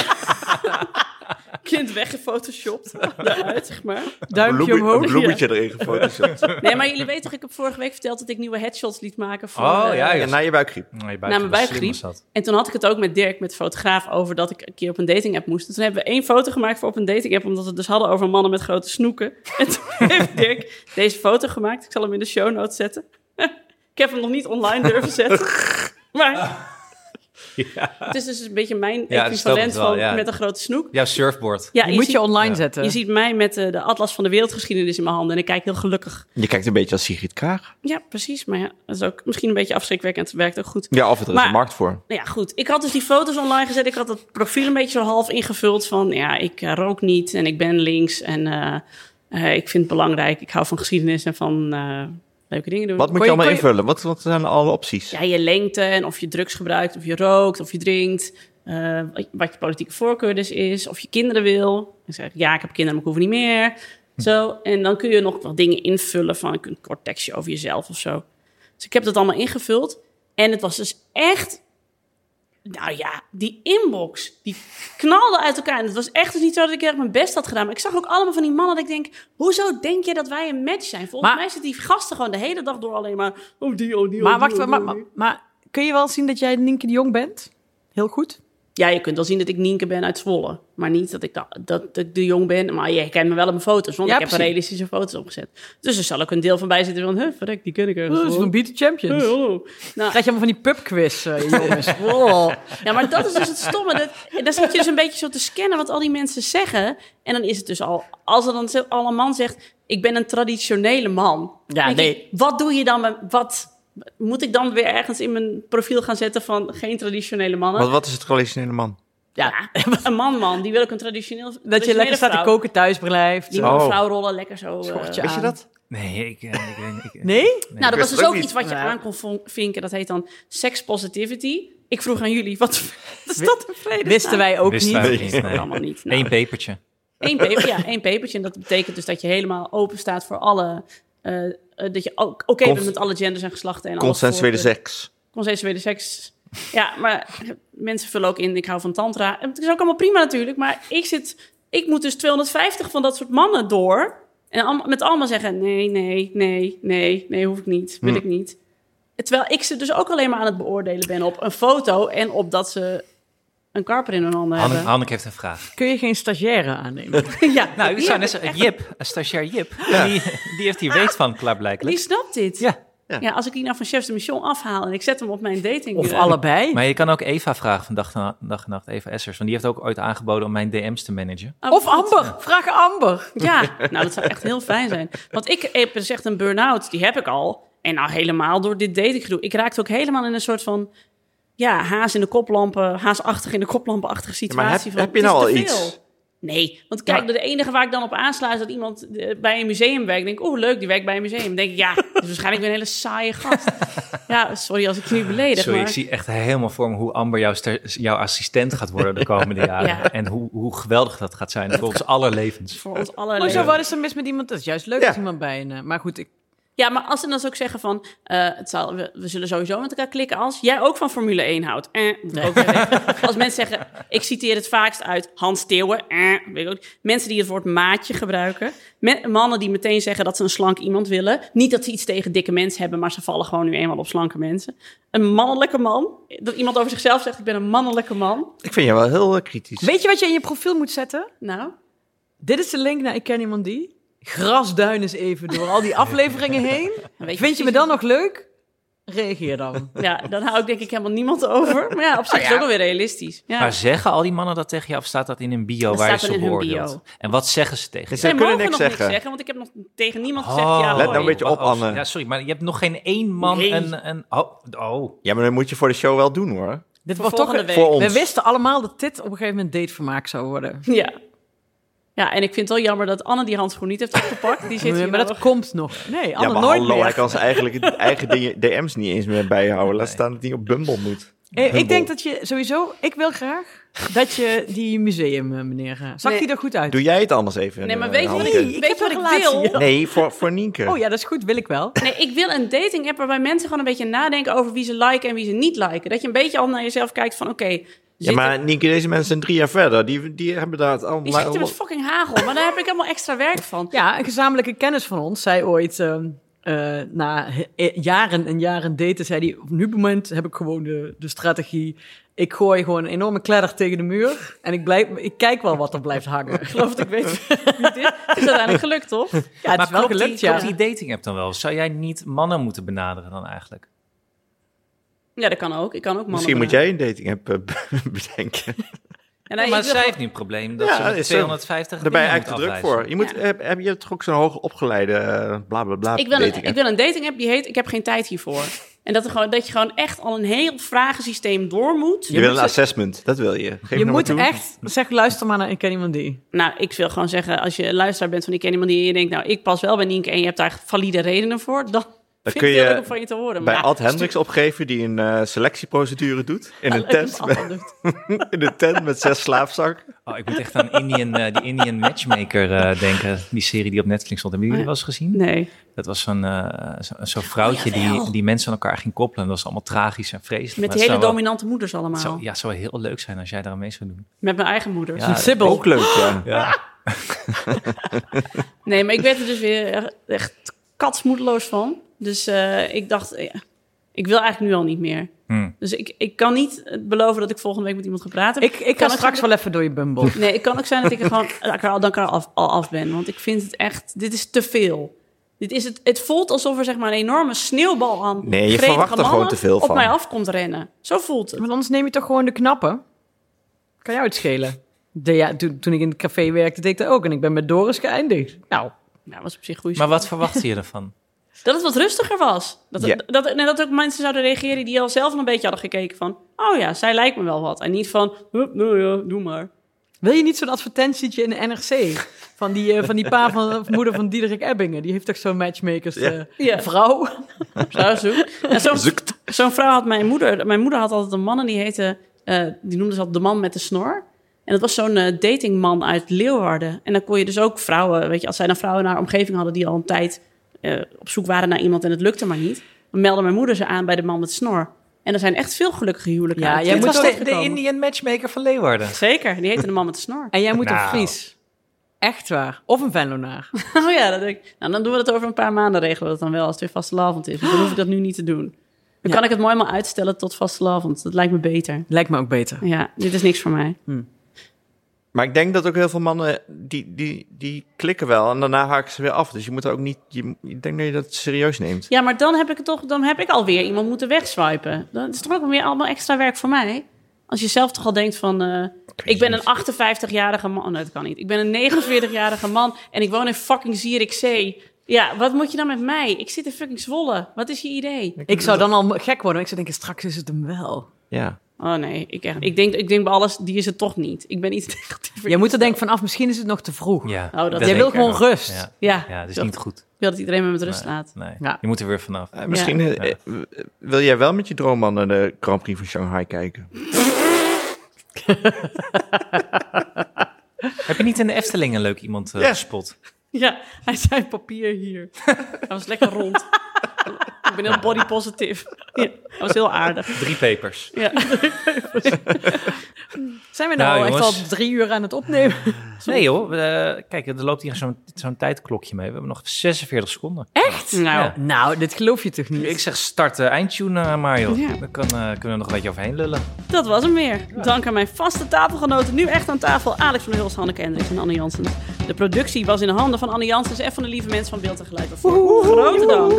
B: Kind weggefotoshopt. Daaruit, zeg maar.
C: Duimpje
E: Bloemie-
C: omhoog.
E: Een bloemetje erin gefotoshopt.
B: Nee, maar jullie weten toch, ik heb vorige week verteld... dat ik nieuwe headshots liet maken voor...
D: Oh,
B: eh,
D: ja, ja.
E: En na je buikgriep.
D: Nee,
B: Na Nou, mijn buikgriep. En toen had ik het ook met Dirk, met de fotograaf, over dat ik een keer op een dating app moest. En toen hebben we één foto gemaakt voor op een dating app, omdat we het dus hadden over mannen met grote snoeken. En toen heeft Dirk deze foto gemaakt. Ik zal hem in de show notes zetten. ik heb hem nog niet online durven zetten. Maar het is dus een beetje mijn
D: Ja, dat snap
B: equivalent
D: ik wel,
B: van
D: ja.
B: met een grote snoek.
D: Ja, surfboard.
B: Ja,
C: Die moet
B: ziet,
C: je online zetten.
B: je ziet mij met eh, de atlas van de wereldgeschiedenis in mijn handen en ik kijk heel gelukkig.
E: Je kijkt een beetje als Sigrid Kaag.
B: Ja, precies. Maar ja, dat is ook misschien een beetje afschrikwekkend. Het werkt ook goed.
E: Ja, of er is
B: Maar-
E: een markt voor.
B: Nou ja, goed. Ik had dus die foto's online gezet. Ik had dat profiel een beetje zo half ingevuld van... ja, ik eh, rook niet en ik ben links en eh, eh, ik vind het belangrijk. Ik hou van geschiedenis en van eh, leuke dingen doen.
E: Wat moet
C: Kon
E: je,
C: je- kon
E: allemaal
C: je-
E: invullen? Wat, wat zijn alle opties?
B: Ja, je lengte en of je drugs gebruikt, of je rookt, of je drinkt. eh, wat je politieke voorkeur dus is, of je kinderen wil. Dan zeg ik, ja, ik heb kinderen, maar ik hoef er niet meer.
C: Hm.
B: Zo, en dan kun je nog wat dingen invullen van een kort tekstje over jezelf of zo. Dus ik heb dat allemaal ingevuld. En het was dus echt... Nou ja, die inbox, die knalde uit elkaar. En het was echt dus niet zo dat ik heel erg mijn best had gedaan. Maar ik zag ook allemaal van die mannen dat ik denk... Hoezo denk je dat wij een match zijn? Volgens
C: Maar-
B: mij zitten die gasten gewoon de hele dag door alleen maar... Oh die, oh die, oh
C: Maar
B: die,
C: wacht,
B: oh die,
C: maar,
B: oh
C: maar,
B: die.
C: maar kun je wel zien dat jij Nienke de Jong bent? Heel goed.
B: Ja, je kunt wel zien dat ik Nienke ben uit Zwolle. Maar niet dat ik, da- dat, ik de jong ben. Maar je kent me wel op mijn foto's. Want
C: Ja,
B: ik heb er
C: precies.
B: realistische foto's opgezet. Dus er zal ook een deel van bij zitten van... Huh, verrek, die ken ik ergens.
C: Oh, Dat is
B: wel.
C: van Beat the Champions.
B: Hey,
C: Dan
B: hallo. Nou,
C: krijg je allemaal van die pubquiz, eh, jongens. Wow.
B: ja, maar dat is dus het stomme. Dat, dan zit je dus een beetje zo te scannen wat al die mensen zeggen. En dan is het dus al... Als er dan zo- al een man zegt... Ik ben een traditionele man.
C: Ja,
B: Dan denk
C: nee.
B: ik, wat doe je dan met... Wat moet ik dan weer ergens in mijn profiel gaan zetten van... Geen traditionele mannen?
E: Wat, wat is het traditionele man?
B: Ja, een man-man. Die wil ik een traditioneel...
C: Dat je lekker staat te koken thuis blijft.
B: Die
E: Oh.
B: mevrouw rollen lekker zo. eh.
C: Schortje.
E: Weet je
C: aan.
E: dat?
D: Nee, ik... eh, ik, weet niet, ik
C: Nee?
B: Nou,
E: Ik
B: dat was
E: wist
B: dus
E: het ook
B: ook
E: niet.
B: iets wat je
C: Ja.
B: aan kon von- vinken. Dat heet dan sex positivity. Ik vroeg aan jullie, wat wat is dat een vrede?
C: Wisten wij ook niet.
D: Wisten wij ook
E: Nee.
D: niet. nee.
B: allemaal niet. Nou,
D: Eén pepertje.
B: één peper, ja, één pepertje. En dat betekent dus dat je helemaal open staat voor alle eh, eh, dat je ook oké bent
E: Cons-
B: met alle genders en geslachten en alles.
E: Consensuele
B: voor de-
E: seks.
B: Consensuele seks. Ja, maar mensen vullen ook in, ik hou van tantra. En Het is ook allemaal prima natuurlijk, maar ik zit... Ik moet dus 250 van dat soort mannen door. En allemaal- met allemaal zeggen, nee, nee, nee, nee, nee, hoef ik niet, wil
E: Hm.
B: ik niet. Terwijl ik ze dus ook alleen maar aan het beoordelen ben op een foto... en op dat ze een karper in hun handen
D: Hanneke,
B: hebben.
D: Hanneke heeft een vraag.
C: Kun je geen stagiaire aannemen?
B: ja,
D: Nou, ik
B: die,
D: zou net zeggen, Jip, een stagiair Jip, die, die heeft hier weet van,
B: die
D: klaarblijkelijk.
B: snapt dit.
D: Ja.
E: Ja.
B: Ja, als ik die nou van Chef de Mission afhaal en ik zet hem op mijn dating...
C: Of
B: eh,
C: allebei?
D: Maar je kan ook Eva vragen van dag, na, dag en nacht, Eva Essers. Want die heeft ook ooit aangeboden om mijn DM's te managen.
B: oh,
C: Of
B: goed.
C: Amber, vraag Amber.
B: Ja, nou dat zou echt heel fijn zijn. Want ik heb dus echt een burn-out, die heb ik al. En nou helemaal door dit datinggedoe. Ik raakte ook helemaal in een soort van... Ja, haas in de koplampen, haasachtig in de koplampenachtige
E: Ja, maar heb-
B: situatie. van,
E: heb je
B: het is
E: nou
B: te
E: al
B: veel.
E: iets?
B: Nee, want kijk, de enige waar ik dan op aansluit... is dat iemand eh, bij een museum werkt. Ik denk, oh leuk, die werkt bij een museum. Dan denk ik, ja, dat is waarschijnlijk weer een hele saaie gast. Ja, sorry als ik je nu beledig,
D: Sorry, ik
B: maar...
D: zie echt helemaal voor me hoe Amber jouw, ster- jouw assistent gaat worden de komende jaren.
B: Ja.
D: En hoe, hoe geweldig dat gaat zijn voor ons aller levens.
B: Voor ons allerlei.
C: Maar zo, wat is er mis met iemand? Dat is juist leuk
E: Ja.
C: als iemand bij een... eh, Maar goed, ik,
B: Ja, maar als ze dan ook zeggen van... eh, het zal, we, we zullen sowieso met elkaar klikken als jij ook van Formule 1 houdt. Eh, moet ik ook weer weten. als mensen zeggen... Ik citeer het vaakst uit Hans Teeuwen. Eh, weet ik ook. niet. Mensen die het woord maatje gebruiken. Me- mannen die meteen zeggen dat ze een slank iemand willen. Niet dat ze iets tegen dikke mensen hebben... maar ze vallen gewoon nu eenmaal op slanke mensen. Een mannelijke man. Dat iemand over zichzelf zegt... ik ben een mannelijke man.
E: Ik vind je wel heel eh, kritisch.
C: weet je wat je in je profiel moet zetten?
B: Nou,
C: Dit is de link naar Ik ken iemand die. Grasduin eens even door al die afleveringen heen.
B: weet
C: Vind je me
B: precies-
C: dan nog leuk? Reageer dan.
B: Ja, dan hou ik denk ik helemaal niemand over. Maar ja, op zich is het ook wel weer realistisch. Ja.
D: Maar zeggen al die mannen dat tegen je of staat dat in een bio
B: Dat
D: waar je
B: staat
D: ze
B: in hun
D: beoordeelt?
B: bio.
D: En wat zeggen ze tegen je?
E: Ze
B: Zij
E: kunnen
B: mogen
E: niks
B: nog
E: zeggen.
B: niks zeggen, want ik heb nog tegen niemand gezegd...
D: Oh.
B: ja,
E: Dus Let nou
B: hoi.
E: een beetje op,
D: Oh,
E: Anne.
D: Ja, sorry, maar je hebt nog geen één man
B: Nee.
D: en... en oh, oh.
E: Ja, maar dan moet je voor de show wel doen hoor.
C: Dit
B: Voor
C: wordt toch
B: volgende
C: een...
B: week.
E: Voor ons.
C: We wisten allemaal dat dit op een gegeven moment datevermaak zou worden.
B: Ja. Ja, en ik vind het wel jammer dat Anne die handschoen niet heeft opgepakt. Die zit
C: Nee,
B: hier
C: maar
B: wel.
C: dat komt nog. Nee,
E: Ja,
C: allemaal
E: maar
C: nooit
E: hallo,
C: meer.
E: hij kan zijn eigen, eigen dingen- DM's niet eens meer bijhouden. Laat staan dat hij op Bumble moet.
C: Eh, ik
E: Humble.
C: denk dat je sowieso... Ik wil graag dat je die museum, eh, meneer... eh, Zag
B: Nee.
C: die er goed uit?
E: Doe jij het anders even?
B: Nee, maar
E: eh,
B: weet je wat ik,
E: Hanneke?
C: ik
B: weet
C: heb
B: je wat
C: een
B: ik wil?
C: relatie.
E: Nee, voor, voor Nienke.
C: Oh ja, dat is goed. Wil ik wel.
B: Nee, ik wil een dating app waarbij mensen gewoon een beetje nadenken over wie ze liken en wie ze niet liken. Dat je een beetje al naar jezelf kijkt van oké,
E: Ja,
B: zit er-
E: maar Nienke, deze mensen zijn drie jaar verder. Die, die hebben daar het
B: die
E: allemaal...
B: schieten met fucking hagel. Maar daar heb ik helemaal extra werk van.
C: Ja, een gezamenlijke kennis van ons zei ooit, ehm, eh, na he- eh, jaren en jaren daten, zei hij, op nu moment heb ik gewoon de, de strategie, ik gooi gewoon een enorme kledder tegen de muur en ik, blijf, ik kijk wel wat er blijft hangen.
B: Ik geloof dat ik weet wie dit is. Het is uiteindelijk gelukt, toch?
C: Ja, het
D: maar
C: is wel
D: klopt
C: gelukt,
D: die,
C: ja.
D: klopt die dating app dan wel? Zou jij niet mannen moeten benaderen dan eigenlijk?
B: Ja, dat kan ook. Ik kan ook mannen.
E: Misschien moet
B: benaderen.
E: jij een dating app eh, bedenken.
B: En
D: Ja,
B: dan-
D: maar
B: ik wil
D: zij heeft nu een probleem dat
E: Ja,
D: ze met
E: is, eh,
D: 250
E: Daar ben je
D: dingen
E: eigenlijk te
D: moet
E: druk
D: afwijzen.
E: voor. Je moet, heb, heb je toch ook zo'n hoog opgeleide eh, bla bla bla
B: Ik wil, een,
E: dating
B: ik
E: app?
B: wil een dating app die heet Ik heb geen tijd hiervoor. En dat, er gewoon, dat je gewoon echt al een heel vragensysteem door moet.
E: Je, wil een assessment, dat wil je. Geef
C: je
E: nou maar
C: moet
E: toe.
C: echt, zeg luister maar naar Ik ken iemand die.
B: Nou, ik wil gewoon zeggen, als je luisteraar bent van Ik ken iemand die je denkt... nou, ik pas wel bij Nienke en je hebt daar valide redenen voor... dan vind
E: kun
B: ik het heel
E: je
B: leuk om van je te horen.
E: bij
B: Maar
E: Ad Hendricks opgeven die een eh, selectieprocedure doet. In een,
B: leuk als
E: tent,
B: Ad
E: met-
B: dat doet.
E: in een tent met zes slaapzakken.
D: Oh, ik moet echt aan Indian, eh, die Indian Matchmaker eh, denken. Die serie die op Netflix stond. Hebben jullie die wel eens gezien?
B: Nee.
D: Dat was zo'n eh, zo- zo'n vrouwtje
B: Oh, jawel.
D: die, die mensen aan elkaar ging koppelen. Dat was allemaal tragisch en vreselijk.
B: Met
D: Maar
B: die
D: het
B: hele
D: zou wel-
B: dominante moeders allemaal.
D: het zou- ja, het zou heel leuk zijn als jij daar aan mee zou doen.
B: Met mijn eigen moeders.
D: Ja.
C: Sibyl.
E: Ook leuk, ja.
D: Ja.
B: Nee, maar ik werd er dus weer echt katsmoedeloos van. Dus eh, ik dacht, eh, ik wil eigenlijk nu al niet meer.
D: Hmm.
B: Dus ik, ik kan niet eh, beloven dat ik volgende week met iemand gepraat heb.
C: Ik, ik
B: Kan
C: ga
B: ik
C: straks wel even door je bumble.
B: Nee, het kan ook zijn dat ik er gewoon dat ik er al, dat ik er af, al af ben. Want ik vind het echt, dit is te veel. Dit is het, het voelt alsof er zeg maar een enorme sneeuwbal aan
E: Nee, je
B: gretige
E: verwacht er gewoon
B: mannen
E: te veel
B: op
E: van.
B: mij af komt rennen. Zo voelt het.
C: Want anders neem je toch gewoon de knappe. Kan jou het schelen. De, ja, toen, toen ik in het café werkte, deed ik dat ook en ik ben met Doris geëindigd. Nou,
B: Nou, dat was op zich goed.
D: Maar wat verwachtte je ervan?
B: Dat het wat rustiger was. Dat,
E: Ja.
B: dat, en dat ook mensen zouden reageren die al zelf een beetje hadden gekeken van... Oh ja, zij lijkt me wel wat. En niet van, hup, nou ja, doe maar.
C: Wil je niet zo'n advertentietje in de NRC? Van die, eh, van die pa van of moeder van Diederik Ebbingen. Die heeft toch zo'n matchmakers eh,
B: Ja.
C: vrouw?
B: Zo zoek. En zo'n zo'n vrouw had mijn moeder. Mijn moeder had altijd een man en die heette. eh, die noemde ze altijd de man met de snor. En dat was zo'n eh, datingman uit Leeuwarden. En dan kon je dus ook vrouwen. Weet je, als zij dan vrouwen in haar omgeving hadden die al een tijd eh, op zoek waren naar iemand en het lukte maar niet, dan meldde mijn moeder ze aan bij de man met snor. En er zijn echt veel gelukkige huwelijken.
C: Ja,
B: uit
C: jij
D: Dit
B: dit
C: moet
D: was de,
B: vastgekomen.
D: de Indian matchmaker van Leeuwarden.
B: Zeker, die heette de man met de snor.
C: En jij moet een
D: Nou.
C: Fries. Echt waar. Of een Venlonaar.
B: Oh ja, dat denk ik. Nou, dan doen we dat over een paar maanden regelen we dat dan wel als het weer vastelavond is. Want dan hoef ik dat nu niet te doen. Dan
C: Ja.
B: kan ik het mooi maar uitstellen tot vastelavond. Dat lijkt me beter.
C: Lijkt me ook beter.
B: Ja, dit is niks voor mij.
E: Maar ik denk dat ook heel veel mannen, die, die, die klikken wel en daarna haken ze weer af. Dus je moet er ook niet, je, ik denk dat je dat serieus neemt.
B: Ja, maar dan heb ik het toch, dan heb ik alweer iemand moeten wegswipen. Dan is het toch ook weer allemaal extra werk voor mij. Als je zelf toch al denkt van, eh, ik ben een 58-jarige man. Oh, nee, dat kan niet. Ik ben een 49-jarige man en ik woon in fucking Zierikzee. Ja, wat moet je dan met mij? Ik zit in fucking Zwolle. Wat is je idee?
C: Ik zou dan al gek worden. Ik zou denken, straks is het hem wel.
E: Ja.
B: Oh nee, ik, echt, ik, denk, ik denk bij alles, die is het toch niet. Ik ben iets negatiever.
C: Jij moet er denken vanaf, misschien is het nog te vroeg.
D: Ja,
B: Oh, dat- Jij
D: denk
C: wil
D: ik
C: gewoon
D: ook.
C: rust.
D: Ja,
B: Ja,
D: ja dat is
B: Ja.
D: niet goed.
B: Ik wil dat iedereen me met rust
D: Nee.
B: laat.
D: Nee.
C: Ja.
D: Je moet er weer vanaf.
E: Eh, misschien eh, eh, wil jij wel met je droomman naar de Grand Prix van Shanghai kijken.
D: Heb je niet in de Efteling een leuk iemand eh,
E: Ja.
D: gespot?
B: Ja, hij zei papier hier. Hij was lekker rond. ik ben heel body positive. Ja, hij was heel aardig.
D: Drie pepers.
B: Ja.
C: Zijn we
D: Nou,
C: nou, al echt
D: jongens.
C: al drie uur aan het opnemen?
D: Nee joh, eh, kijk, er loopt hier zo'n zo'n tijdklokje mee. We hebben nog 46 seconden.
C: Echt? Nou,
D: Ja.
C: nou, dit geloof je toch niet?
D: Ik zeg start de eindtune, eh, Mario.
B: Ja.
D: Dan kan, eh, kunnen we nog een beetje overheen lullen.
B: Dat was hem weer. Dank aan mijn vaste tafelgenoten. Nu echt aan tafel. Alex van Huls, Hanneke Hendricks en Anne Janssens. De productie was in de handen van Anne Janssens en van de lieve mensen van Beeld en Geluid. Daarvoor Grote dank.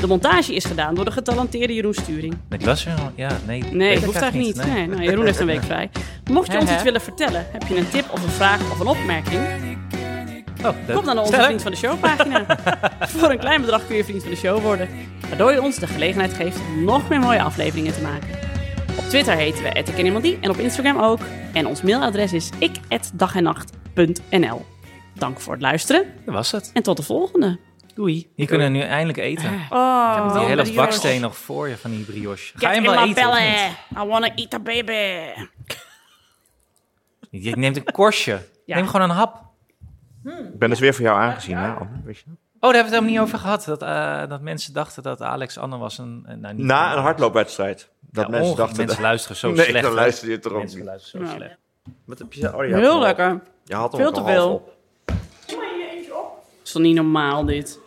B: De montage is gedaan door de getalenteerde Jeroen Sturing.
D: Ik las je al. Ja, nee.
B: Nee,
D: weet
B: dat
D: ik
B: hoeft eigenlijk niet. Nee. nou, Jeroen heeft een week vrij. Mocht je
C: Hè,
B: ons
C: hè?
B: iets willen vertellen, heb je een tip of een vraag of een opmerking?
D: Oh, leuk.
B: Kom dan naar onze
D: Sterk.
B: Vriend van de Show pagina. Voor een klein bedrag kun je Vriend van de Show worden. Waardoor je ons de gelegenheid geeft om nog meer mooie afleveringen te maken. Op Twitter heten we @ikkenniemandie en op Instagram ook. En ons mailadres is ik@dagennacht.nl. Dank voor het luisteren
D: Dat was het.
B: en tot de volgende. Doei.
D: Je kunt nu eindelijk eten.
B: Oh,
D: die hele baksteen nog voor je van die brioche. Ga je hem wel eten? of
B: I wanna eat a baby.
D: niet? Je neemt een korstje.
B: Ja.
D: Neem gewoon een hap. Oh,
E: Ik ben dus weer voor jou aangezien, hè, Anne? Weet je dat?
D: Oh, daar hebben we het helemaal niet over gehad. Dat, eh, dat mensen dachten dat Alex Anne was een... eh, Nou, niet
E: Na een hardloopwedstrijd. Dat
D: Ja,
E: mensen
D: onge-
E: dachten...
D: mensen luisteren zo
E: nee,
D: slecht.
E: dan
D: hè?
E: luister je het erop.
D: Mensen luisteren zo
B: Ja.
D: slecht.
E: Wat heb je... Oh, je had hem
B: Heel
E: al-
B: lekker.
E: Je had hem
B: Veel
E: ook
B: te
E: al half
B: veel.
E: op.
B: is toch niet normaal dit?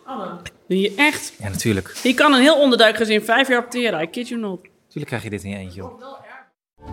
B: Doe je echt?
D: Ja, natuurlijk.
B: Je kan een heel onderduikgezin vijf jaar opteren. I kid you not.
D: Natuurlijk krijg je dit in je eentje op.